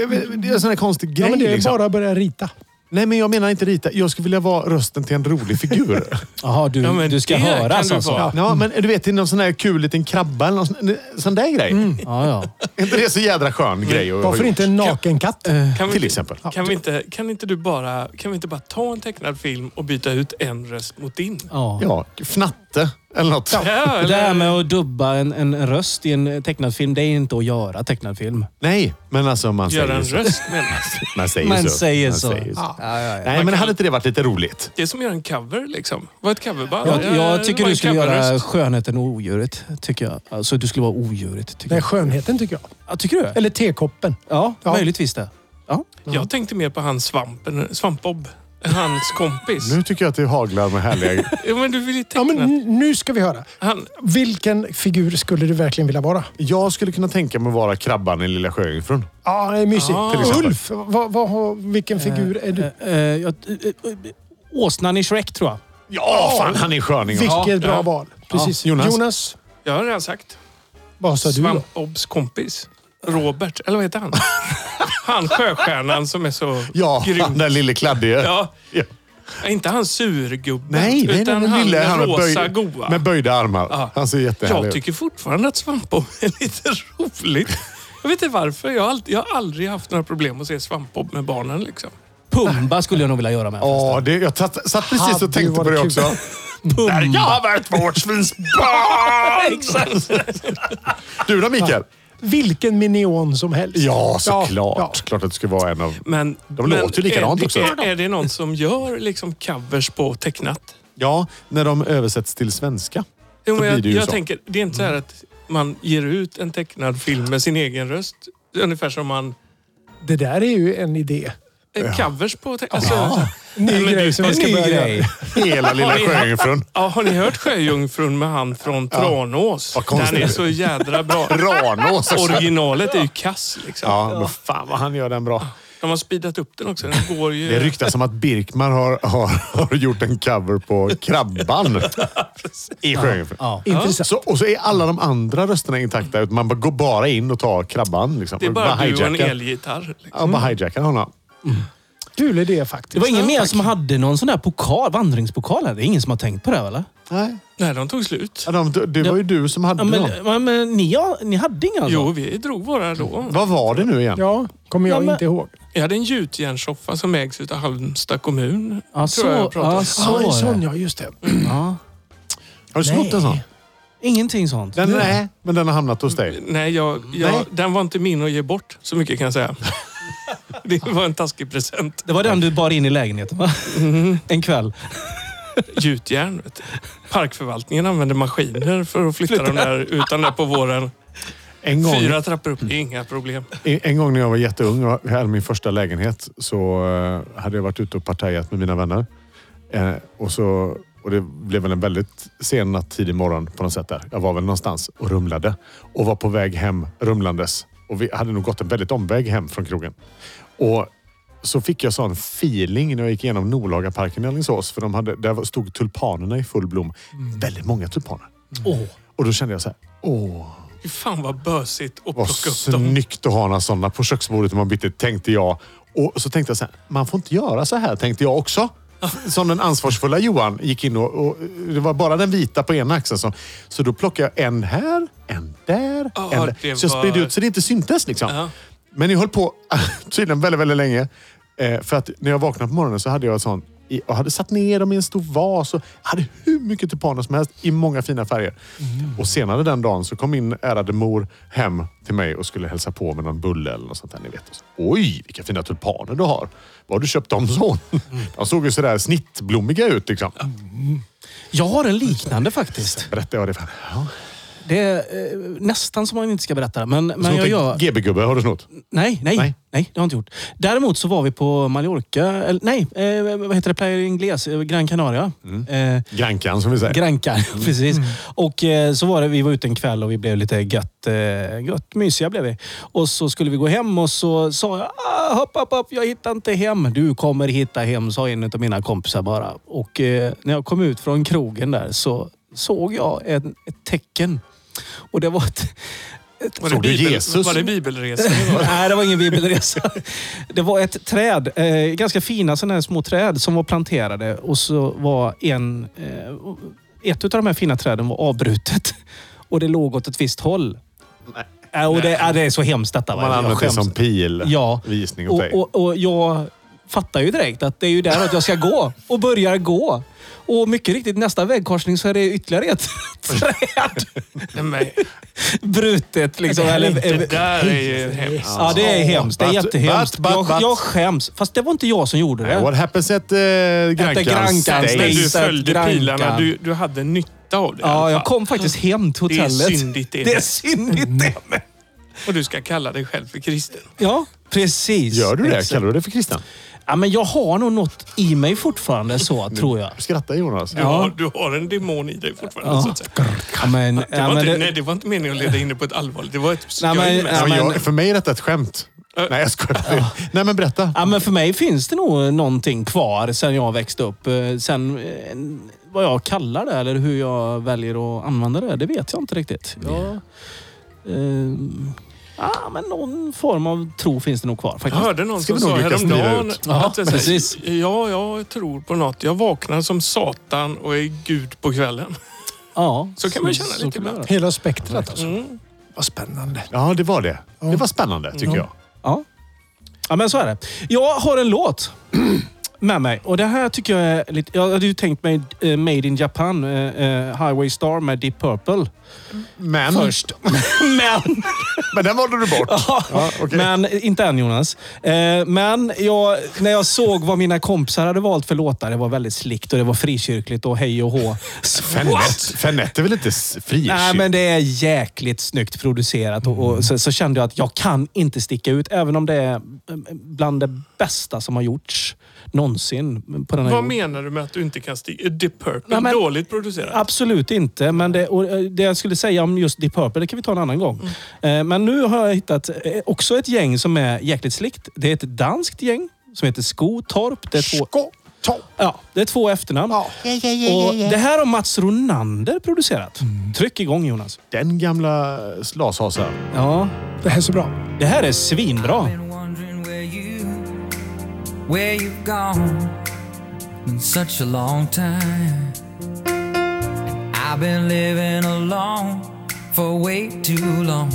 Jag vet- Mhm. Det är en sån här konstig grej.
Ja, men det är
liksom.
bara att börja rita.
Nej, men jag menar inte rita. Jag skulle vilja vara rösten till en rolig figur.
Jaha, du,
Ja, men
du ska
det kan
höras
du
alltså?
vara.
Ja,
Ja, men du vet, det är någon sån här kul liten krabba eller någon sån, sån där grej.
Mm. ja.
Är inte det så jädra skön grej att ha
Varför
gjort?
inte en nakenkatt?
Kan vi,
Till exempel.
Kan, vi inte, kan, inte du bara, kan vi inte bara ta en tecknad film och byta ut en röst mot din?
ja.
Ja, fnatte eller något.
Ja,
Det
eller,
här med att dubba en, en röst i en tecknad film, det är inte att göra tecknad film.
Nej, men alltså man
göra
säger
en
så.
röst menas.
Man säger
Man
så.
säger
Man
så.
säger så.
Ja, ja, ja.
Nej, men hade inte det varit lite roligt?
Det är som att göra en cover liksom. Vad är ett coverband?
Jag,
Ja, det
jag tycker
var
du
en
skulle göra
coverröst.
skönheten och odjuret. Tycker jag. Alltså, du skulle vara odjuret. Tycker
Nej,
jag.
skönheten tycker jag.
Ja, tycker du?
Eller tekoppen.
Ja,
Ja.
möjligtvis det. Ja.
Jag tänkte mer på han svampen, Svampbob. Hans kompis.
Nu tycker jag att det haglar med härliga...
Ja, men du vill ju
Ja,
teckna.
men n- nu ska vi höra.
Han,
Vilken figur skulle du verkligen vilja vara?
jag skulle kunna tänka mig att vara krabban i Lilla Sjöjungfrun.
Ja, det är mysigt.
Till
exempel.
Ulf, vad, vad, har- vilken figur är du?
Eh, eh, jag- eh, eh, Åsnan i Shrek tror jag.
Ja, fan han är skön. Ingvar.
Vilket bra
ja.
val. Precis.
Ja, Jonas.
Jonas.
jag har redan sagt.
vad sa du då?
Svampbobs kompis. Robert, eller vad heter han? Han sjöstjärnan som är så
Ja, den
grym.
där lille kladdige.
Ja,
Ja.
inte han surgubben.
Nej, nej,
utan
den
han
lille
med
med,
rosa
böj-
goa.
med böjda armar.
Ja.
Han ser jättehärlig
jag
ut.
tycker fortfarande att Svampbob är lite roligt. Jag vet inte varför. Jag har, aldrig, jag har aldrig haft några problem att se Svampbob med barnen. Liksom.
Pumba skulle jag nog vilja göra med.
Ja, det, jag satt, satt precis
Hade
och tänkte på
varit
det
kul.
också. Där jag har varit vårdsvins Exakt. Du då Mikael?
Vilken minion som helst.
Ja, såklart.
ja.
Klart att det ska vara en av...
Men,
De låter ju likadant
är,
också.
Är, är det någon som gör liksom covers på tecknat?
Ja, när de översätts till svenska.
Jo, men
blir
jag
det ju
jag
så. Mm.
tänker, det är inte så här att man ger ut en tecknad film med sin egen röst. Ungefär som man...
Det där är ju en idé.
eh, Covers på tecknat. Alltså,
Ny
Nej, men
grej
du-
som vi
En
ska
ny
börja
grej.
göra.
Hela lilla sjöjungfrun.
ja, har ni hört Sjöjungfrun med han från Tranås?
Vad konstigt.
Den är så jädra bra.
Ranås. också.
Originalet är ju kass liksom.
Ja, men fan vad han gör den bra.
De har speedat upp den också. Den går ju...
Det ryktas som att Birkman har, har, har gjort en cover på Krabban i Sjöjungfrun.
Ja.
Intressant.
Så, och så är alla de andra rösterna intakta. utan Man bara går bara in och tar Krabban. Liksom.
Det är bara du och en
hijackar-
elgitarr. Liksom.
Ja, bara hijackar honom.
Kul idé faktiskt.
Det var ingen mer som hade någon sån där pokal, vandringspokal här. Det är ingen som har tänkt på det, här, eller?
Nej.
Nej, de tog slut.
Ja, de, det, det var ju du som hade
Ja, men,
dem.
ja, men ni, har- ni hade inga alltså?
Jo, vi drog våra då.
Vad var det nu igen?
Ja, kommer jag
Ja, men-
inte ihåg.
Jag hade en gjutjärnssoffa som ägs av Halmstad kommun. tror
Ja,
jag
så,
jag pratar om.
ja,
Ja,
så
ah, en
är
sån
det.
ja. Just det.
Ja.
Har du snott en sån?
Ingenting sånt.
Den, nej, men den har hamnat hos dig.
Nej, jag, jag,
Nej.
den var inte min att ge bort. Så mycket kan jag säga. Det var en taskig present.
Det var den du bar in i lägenheten, va? En kväll.
Gjutjärn. vet du. Parkförvaltningen använde maskiner för att flytta dem där utan det på våren.
En gång,
Fyra trappor upp, det är inga problem.
en- en gång när jag var jätteung och jag hade min första lägenhet så eh, hade jag varit ute och partajat med mina vänner. Eh, och, så, och det blev väl en väldigt sen natt, tidig morgon på något sätt där. Jag var väl någonstans och rumlade och var på väg hem rumlandes. Och vi hade nog gått en väldigt omväg hem från krogen. Och så fick jag sån feeling när jag gick igenom Nolagaparken i Alingsås. För de hade, där stod tulpanerna i full blom. Väldigt många tulpaner.
Åh.
Och då kände jag så här, åh.
Fy fan vad bösigt att
Vad
plocka upp dem.
snyggt att ha några sådana på köksbordet om man bytte, tänkte jag. Och så tänkte jag så här, man får inte göra så här, tänkte jag också. Som den ansvarsfulla Johan gick in och, och det var bara den vita på ena axeln. Så, så då plockade jag en här, en där,
Ja,
en där.
det
Så jag
var-
spridde ut så det inte syntes liksom.
Ja.
Men jag höll på tydligen väldigt, väldigt länge. Eh, för att när jag vaknade på morgonen så hade jag ett sånt... i- Jag hade satt ner dem i en stor vas och hade hur mycket tulpaner som helst i många fina färger.
Mm.
Och senare den dagen så kom min ärade mor hem till mig och skulle hälsa på med någon bulle eller något sånt där. Ni vet. Och så, Oj, vilka fina tulpaner du har. Var har du köpt dem så?
Mm.
De såg ju sådär snittblommiga ut liksom.
Jag har en liknande faktiskt.
Berättade jag det för henne. Ja.
Det är eh, nästan som man inte ska berätta det, men, men
Snott
jag
en
gör...
GB-gubbe har du snott.
Nej,
Nej.
nej, nej, det har jag inte gjort. Däremot så var vi på Mallorca, eller nej, eh, vad heter det, Playa Ingles, eh, Gran Canaria. Eh,
Grankan som vi säger.
Granka, precis. Och eh, så var det, vi var ute en kväll och vi blev lite gött, eh, gött mysiga blev vi. Och så skulle vi gå hem och så sa jag, ah, hopp, hopp, hopp, jag hittar inte hem. Du kommer hitta hem, sa en av mina kompisar bara. Och eh, när jag kom ut från krogen där så såg jag en, ett tecken. Och det var ett,
Var
Såg du
bibel-
Jesus?
Var det bibelresa? Det var-
Nej, det var ingen bibelresa. Det var ett träd, eh, ganska fina sådana här små träd som var planterade och så var en, eh, ett av de här fina träden var avbrutet och det låg åt ett visst håll. Nej. och det, ja, det är så hemskt detta. va?
Man
Jag
använder det
skäms.
som pil.
Ja.
Visning åt
och,
dig.
och, och jag fattar ju direkt att det är ju däråt jag ska gå och börjar gå. Och mycket riktigt, nästa vägkorsning så är det ytterligare ett träd
Nej, men
brutet. Liksom,
Det här är
eller,
Det där är ju hemskt.
Ja, det är
Alltså,
hemskt. Det är
But-
jättehemskt.
but- but-
jag,
but-
jag skäms. Fast det var inte jag som gjorde
What
det.
happens at uh, Grankan,
Grankan
Men
Stays.
du
Stays.
följde
Grankan.
pilarna. Du, du hade nytta av det. i alla
Ja, jag
fall.
kom faktiskt hem till
Det är
hotellet.
syndigt det. Mm.
Det är syndigt det.
Och du ska kalla dig själv för kristen.
Ja, precis.
Gör du det?
Exakt.
Kallar du det för Christian?
Ja, men jag har nog något i mig fortfarande
Mm.
så, tror jag.
Skratta Jonas.
Du, har, du har en demon i dig fortfarande. Så att säga.
Ja, men,
Det var
ja, men
inte,
det-
Nej, det var inte meningen att leda in det på ett allvarligt. Det var ett skoj.
Nej, men-
men-
Nej,
ja,
men
men-
jag, för mig är detta ett skämt. Nej, jag skojar. Nej, men berätta.
Ja, men för mig finns det nog någonting kvar sen jag växte upp. Eh, Sen eh, vad jag kallar det eller hur jag väljer att använda det, det vet jag inte riktigt. Jag, eh, ja, men någon form av tro finns det nog kvar
Jag
faktiskt.
hörde någon
Ska
som
vi
sa
nog lyckas skriva
häromdagen
ut?
Ja,
att det är så här,
precis.
ja, jag tror på något. Jag vaknar som satan och är gud på kvällen.
Ja,
Så kan man känna lite
kan man
ibland.
göra.
Hela spektrat alltså. Vad spännande.
Ja, det var det. Det var spännande tycker jag.
Ja. ja, men så är det. Jag har en låt med mig. Och det här tycker jag är lite... Jag hade ju tänkt mig eh, Made in Japan, eh, eh, Highway Star med Deep
Mm.
Purple.
Men,
Först. Men...
men den valde du bort. Ja, okej.
Men inte än Jonas. Eh, men jag, när jag såg vad mina kompisar hade valt för låtar, det var väldigt slikt och det var frikyrkligt och hej och hå. Så-
Fenett- Fenett är väl inte s- frikyrk?
Nej, men det är jäkligt snyggt producerat och, och så, så kände jag att jag kan inte sticka ut, även om det är eh, bland det bästa som har gjorts någonsin på den här
Vad
jorden.
menar du med att du inte kan stiga? The Purple,
Nej, men-
dåligt producerat.
Absolut inte, men det, och eh, det jag skulle säga om just Deep Purple, det kan vi ta en annan gång. Eh, Men nu har jag hittat eh, också ett gäng som är jäkligt slikt. Det är ett danskt gäng som heter Skotorp. Det är två,
Skå- ta-
ja, det är två efternamn. Och det här har Mats Ronander producerat. Tryck igång Jonas.
Den gamla slashasen.
Ja,
Det här är så bra.
det här är svinbra.
been wondering where you where you've gone in such a long time i've been living alone for way too long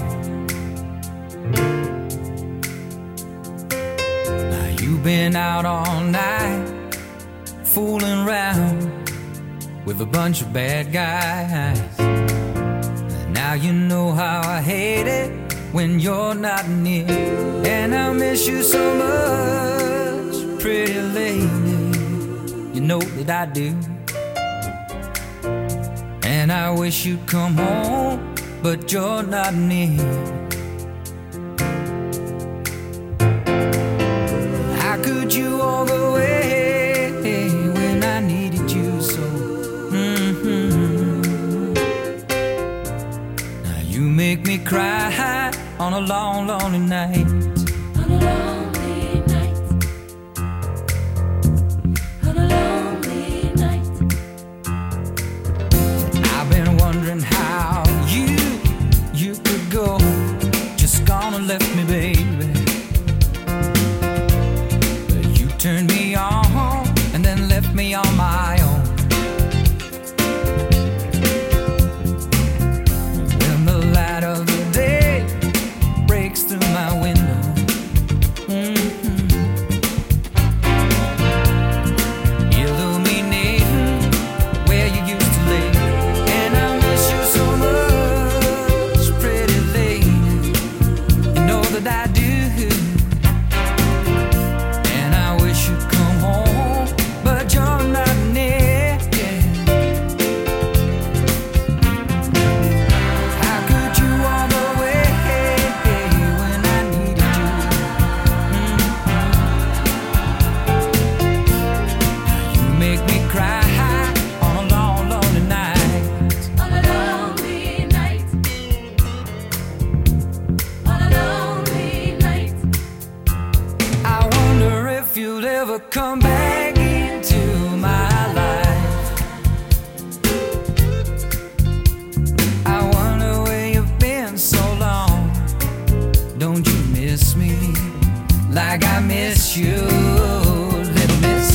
now you've been out all night fooling around with a bunch of bad guys now you know how I hate it when you're not near. And I miss you so much, pretty lady. You know that I do. And I wish you'd come home but you're not near. How could you walk away when I needed you so? Mhm. Now you make me cry on a long, lonely night.
On a lonely night. On a lonely night.
I've been wondering how you you could go just gone and left me, baby. But you turned me on and then left me on my own. When the light of the day breaks through my window. mhm, Illuminating where you used to lay. And I miss you so much, pretty lady. You know that I do. And I wish you'd come home, but you're not near. How could you walk away when I needed you? You make me cry on a long, lonely night.
On a lonely night. On a lonely night.
I wonder if you'll ever come back into my life. I wonder where you've been so long. Don't you miss me like I miss you? Little miss.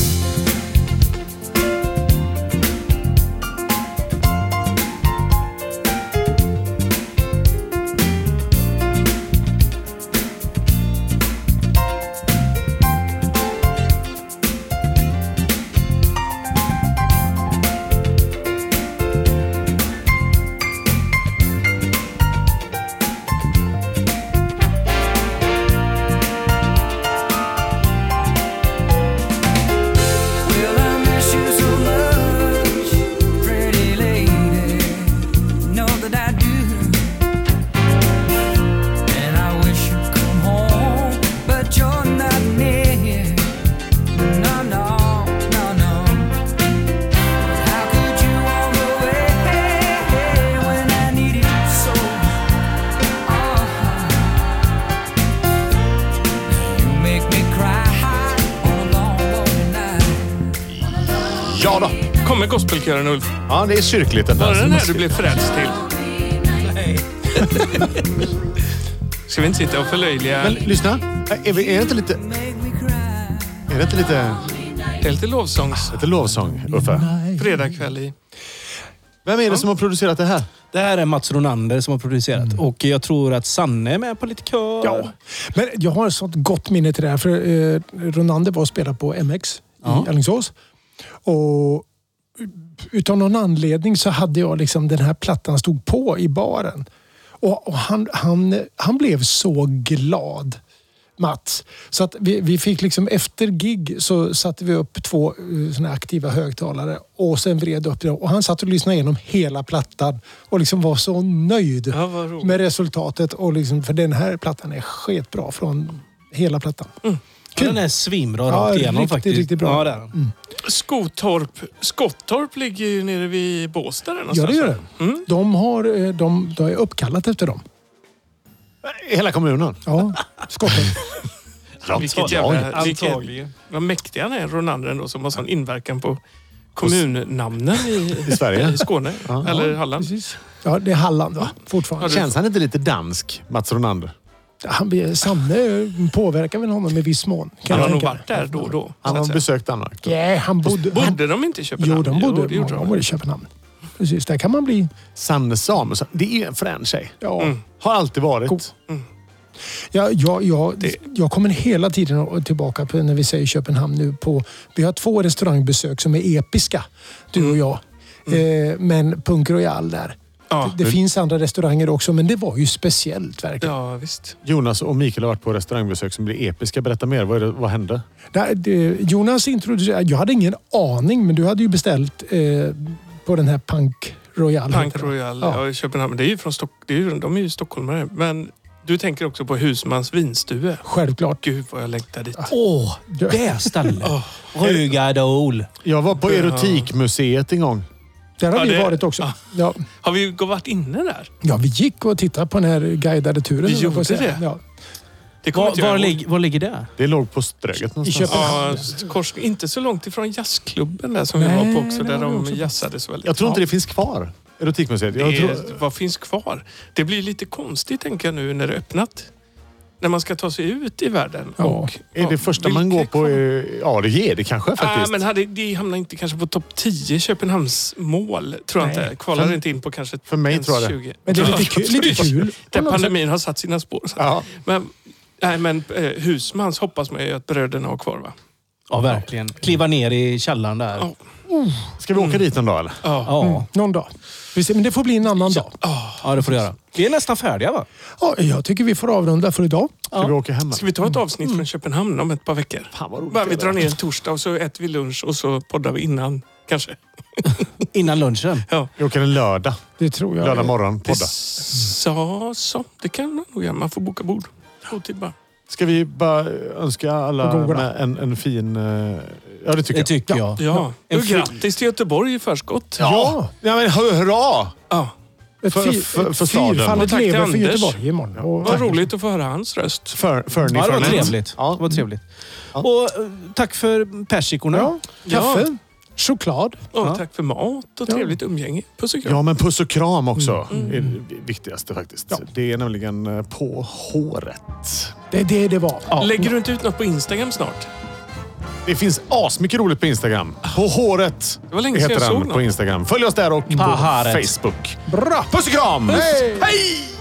Will I miss you so much, pretty lady? Know that I do, and I wish you'd come home, but you're not near. No, no, no, no. How could you walk away when I needed you so? Uh-huh. You make me cry on a long, long night.
Ja då.
Kommer gospelkören Ulf?
Ja, det är kyrkligt.
Var det den här
måste-
du blev frälst till?
Lonely night.
Ska vi inte sitta och förlöjliga?
Men lyssna. Är, vi, är, det inte lite,
make me cry.
är det inte lite,
Det är lite lovsångs
lite lovsång, Uffe?
fredagkväll i.
Vem är det som har producerat det här?
Det här är Mats Ronander som har producerat. Och jag tror att Sanne är med på lite kör.
Mm. Ja. Men jag har ett sånt gott minne till det här. För eh, Ronander var och spelade på MX i Alingsås. Och utav någon anledning så hade jag liksom den här plattan stod på i baren. Och, och han, han, han blev så glad. Mats. Så att vi, vi fick liksom efter gig så satte vi upp två eh, såna här aktiva högtalare och sen vred upp det. Och han satt och lyssnade igenom hela plattan och liksom var så nöjd
Ja, vad roligt.
med resultatet. Och liksom, för den här plattan är sketbra från hela plattan.
Mm.
Ja, Den är svinbra
Ja,
rakt igenom
riktigt,
faktiskt.
riktigt bra. Mm.
Ja, det är den.
Skotorp. Skottorp ligger ju nere vid Båstad där
Ja, det
någonstans.
gör det.
Mm.
De, har, eh, de, de är uppkallat efter dem.
Hela kommunen?
Ja, skotten.
Vilket jävla... Vilket, vad mäktig han är, Ronander, ändå, som har sån inverkan på kommunnamnen i,
I Sverige?
i Skåne. eller Halland.
Precis. Ja, det är Halland va? fortfarande.
Känns han inte lite dansk, Mats Ronander?
Han, blir- Sanne påverkar väl honom i viss mån. Kan
Han har
jag
nog
tänka mig.
varit där då och då.
Han
så att
har
säga.
besökt Danmark.
Nej, han bodde... han,
Bodde de inte i Köpenhamn?
jo, de bodde,
det gjorde
många år i Köpenhamn. Precis, där kan man bli...
Sanne Samuelsson. Det är en frän tjej.
Ja,
Mm.
Har alltid varit.
Cool. jag, jag, jag,
Det-
jag kommer hela tiden tillbaka på när vi säger Köpenhamn nu på... Vi har två restaurangbesök som är episka, du
Mm.
och jag. Eh, men Punk Royal där.
Ja.
Det, det finns andra restauranger också, men det var ju speciellt verkligen.
Ja, visst.
Jonas och Mikael har varit på restaurangbesök som blir episka. Berätta mer. Vad, är det, vad hände?
Där, det, Jonas introducerade... Jag hade ingen aning, men du hade ju beställt eh, på den här Punk Royal.
Punk
heter den.
Royal
Ja.
ja. i Köpenhamn. Men Det är ju från Stock det är ju, de är ju stockholmare. Men du tänker också på Husmans vinstue.
Självklart.
Gud vad jag längtar dit.
Ah.
Åh, det stället! Rögadol.
Jag var på Erotikmuseet en gång.
Där har
Ja,
vi
det-
varit också.
ja.
Ja.
Har vi gå- varit inne där?
ja, vi gick och tittade på den här guidade turen.
Vi
höll jag på att
gjorde
säga.
det?
Ja.
Det kommer
Var,
inte jag
var,
ihåg.
lig, var ligger det?
Det låg på Ströget någonstans.
Köpenhamn.
Ja, kors, inte så långt ifrån jazzklubben där som vi
Nej,
var på också.
det
Där
var vi
de
också på.
jazzade så väldigt.
Jag tror inte det finns kvar. Erotikmuseet. Jag
Det är-
tror,
Vad finns kvar? Det blir lite konstigt tänker jag nu när det är öppnat. När man ska ta sig ut i världen.
Ja.
är det första man går
vilka
på...
kvar?
är- Ja, det är det kanske
Ah,
faktiskt.
men hade, de hamnar inte kanske på topp 10 Köpenhamns mål. Tror jag inte. Kvalar
För-
inte in på kanske
för mig
ens
tror jag det.
20.
Men det är lite
Ja,
kul- lite kul.
Där pandemin har satt sina spår. Så.
Ja.
Men, nej, men eh, Husmans hoppas man ju att bröderna har kvar va?
Ja, verkligen. Kliva ner i källaren där.
Ja.
Ska vi åka dit en dag eller?
Mm. Ja.
Ja,
Någon dag. Vi ser, men det får bli en annan dag.
ja det får du göra. Vi är nästan färdiga va?
Ja, jag tycker vi får avrunda för idag.
Ska vi åka hem? eller?
Ska vi ta ett avsnitt från Köpenhamn om ett par veckor?
Mm. Fan vad roligt.
Bara vi
det är.
drar ner en torsdag och så äter vi lunch och så poddar vi innan. Kanske.
Innan lunchen.
Ja.
Vi åker en lördag.
Det tror jag.
Lördag morgon.
Det
Podda.
sa så. Det kan man nog göra. Man får boka bord. Otid bara.
Ska vi bara önska alla
Och goda.
med en, en fin... eh, Ja, det tycker
Det
jag.
tycker jag.
Ja.
En
Och
fri-
grattis till Göteborg i förskott.
Ja! ja men hurra!
Ja.
Ett
För-
fyr-
för-
ett
för staden.
Fyrfaldigt
Och tack till
lever för
Anders.
Göteborg imorgon. Och,
Vad roligt att få höra hans röst.
För, för
Ja, det var trevligt.
Ja.
Det var trevligt. Och eh, tack för persikorna.
ja, kaffe, choklad.
Och
Ja.
tack för mat och
Ja.
trevligt umgänge. Puss och kram.
Ja, men puss och kram också är det viktigaste faktiskt.
Mm. Ja.
Det är nämligen eh, på håret.
Det är det det var.
Lägger du inte ut något på Instagram snart?
Det finns asmycket roligt på Instagram. På håret
var länge sedan
heter
jag såg
den
något.
på Instagram. Följ oss där och på
På håret.
Facebook.
Bra!
Puss och kram! Hej!
Hej!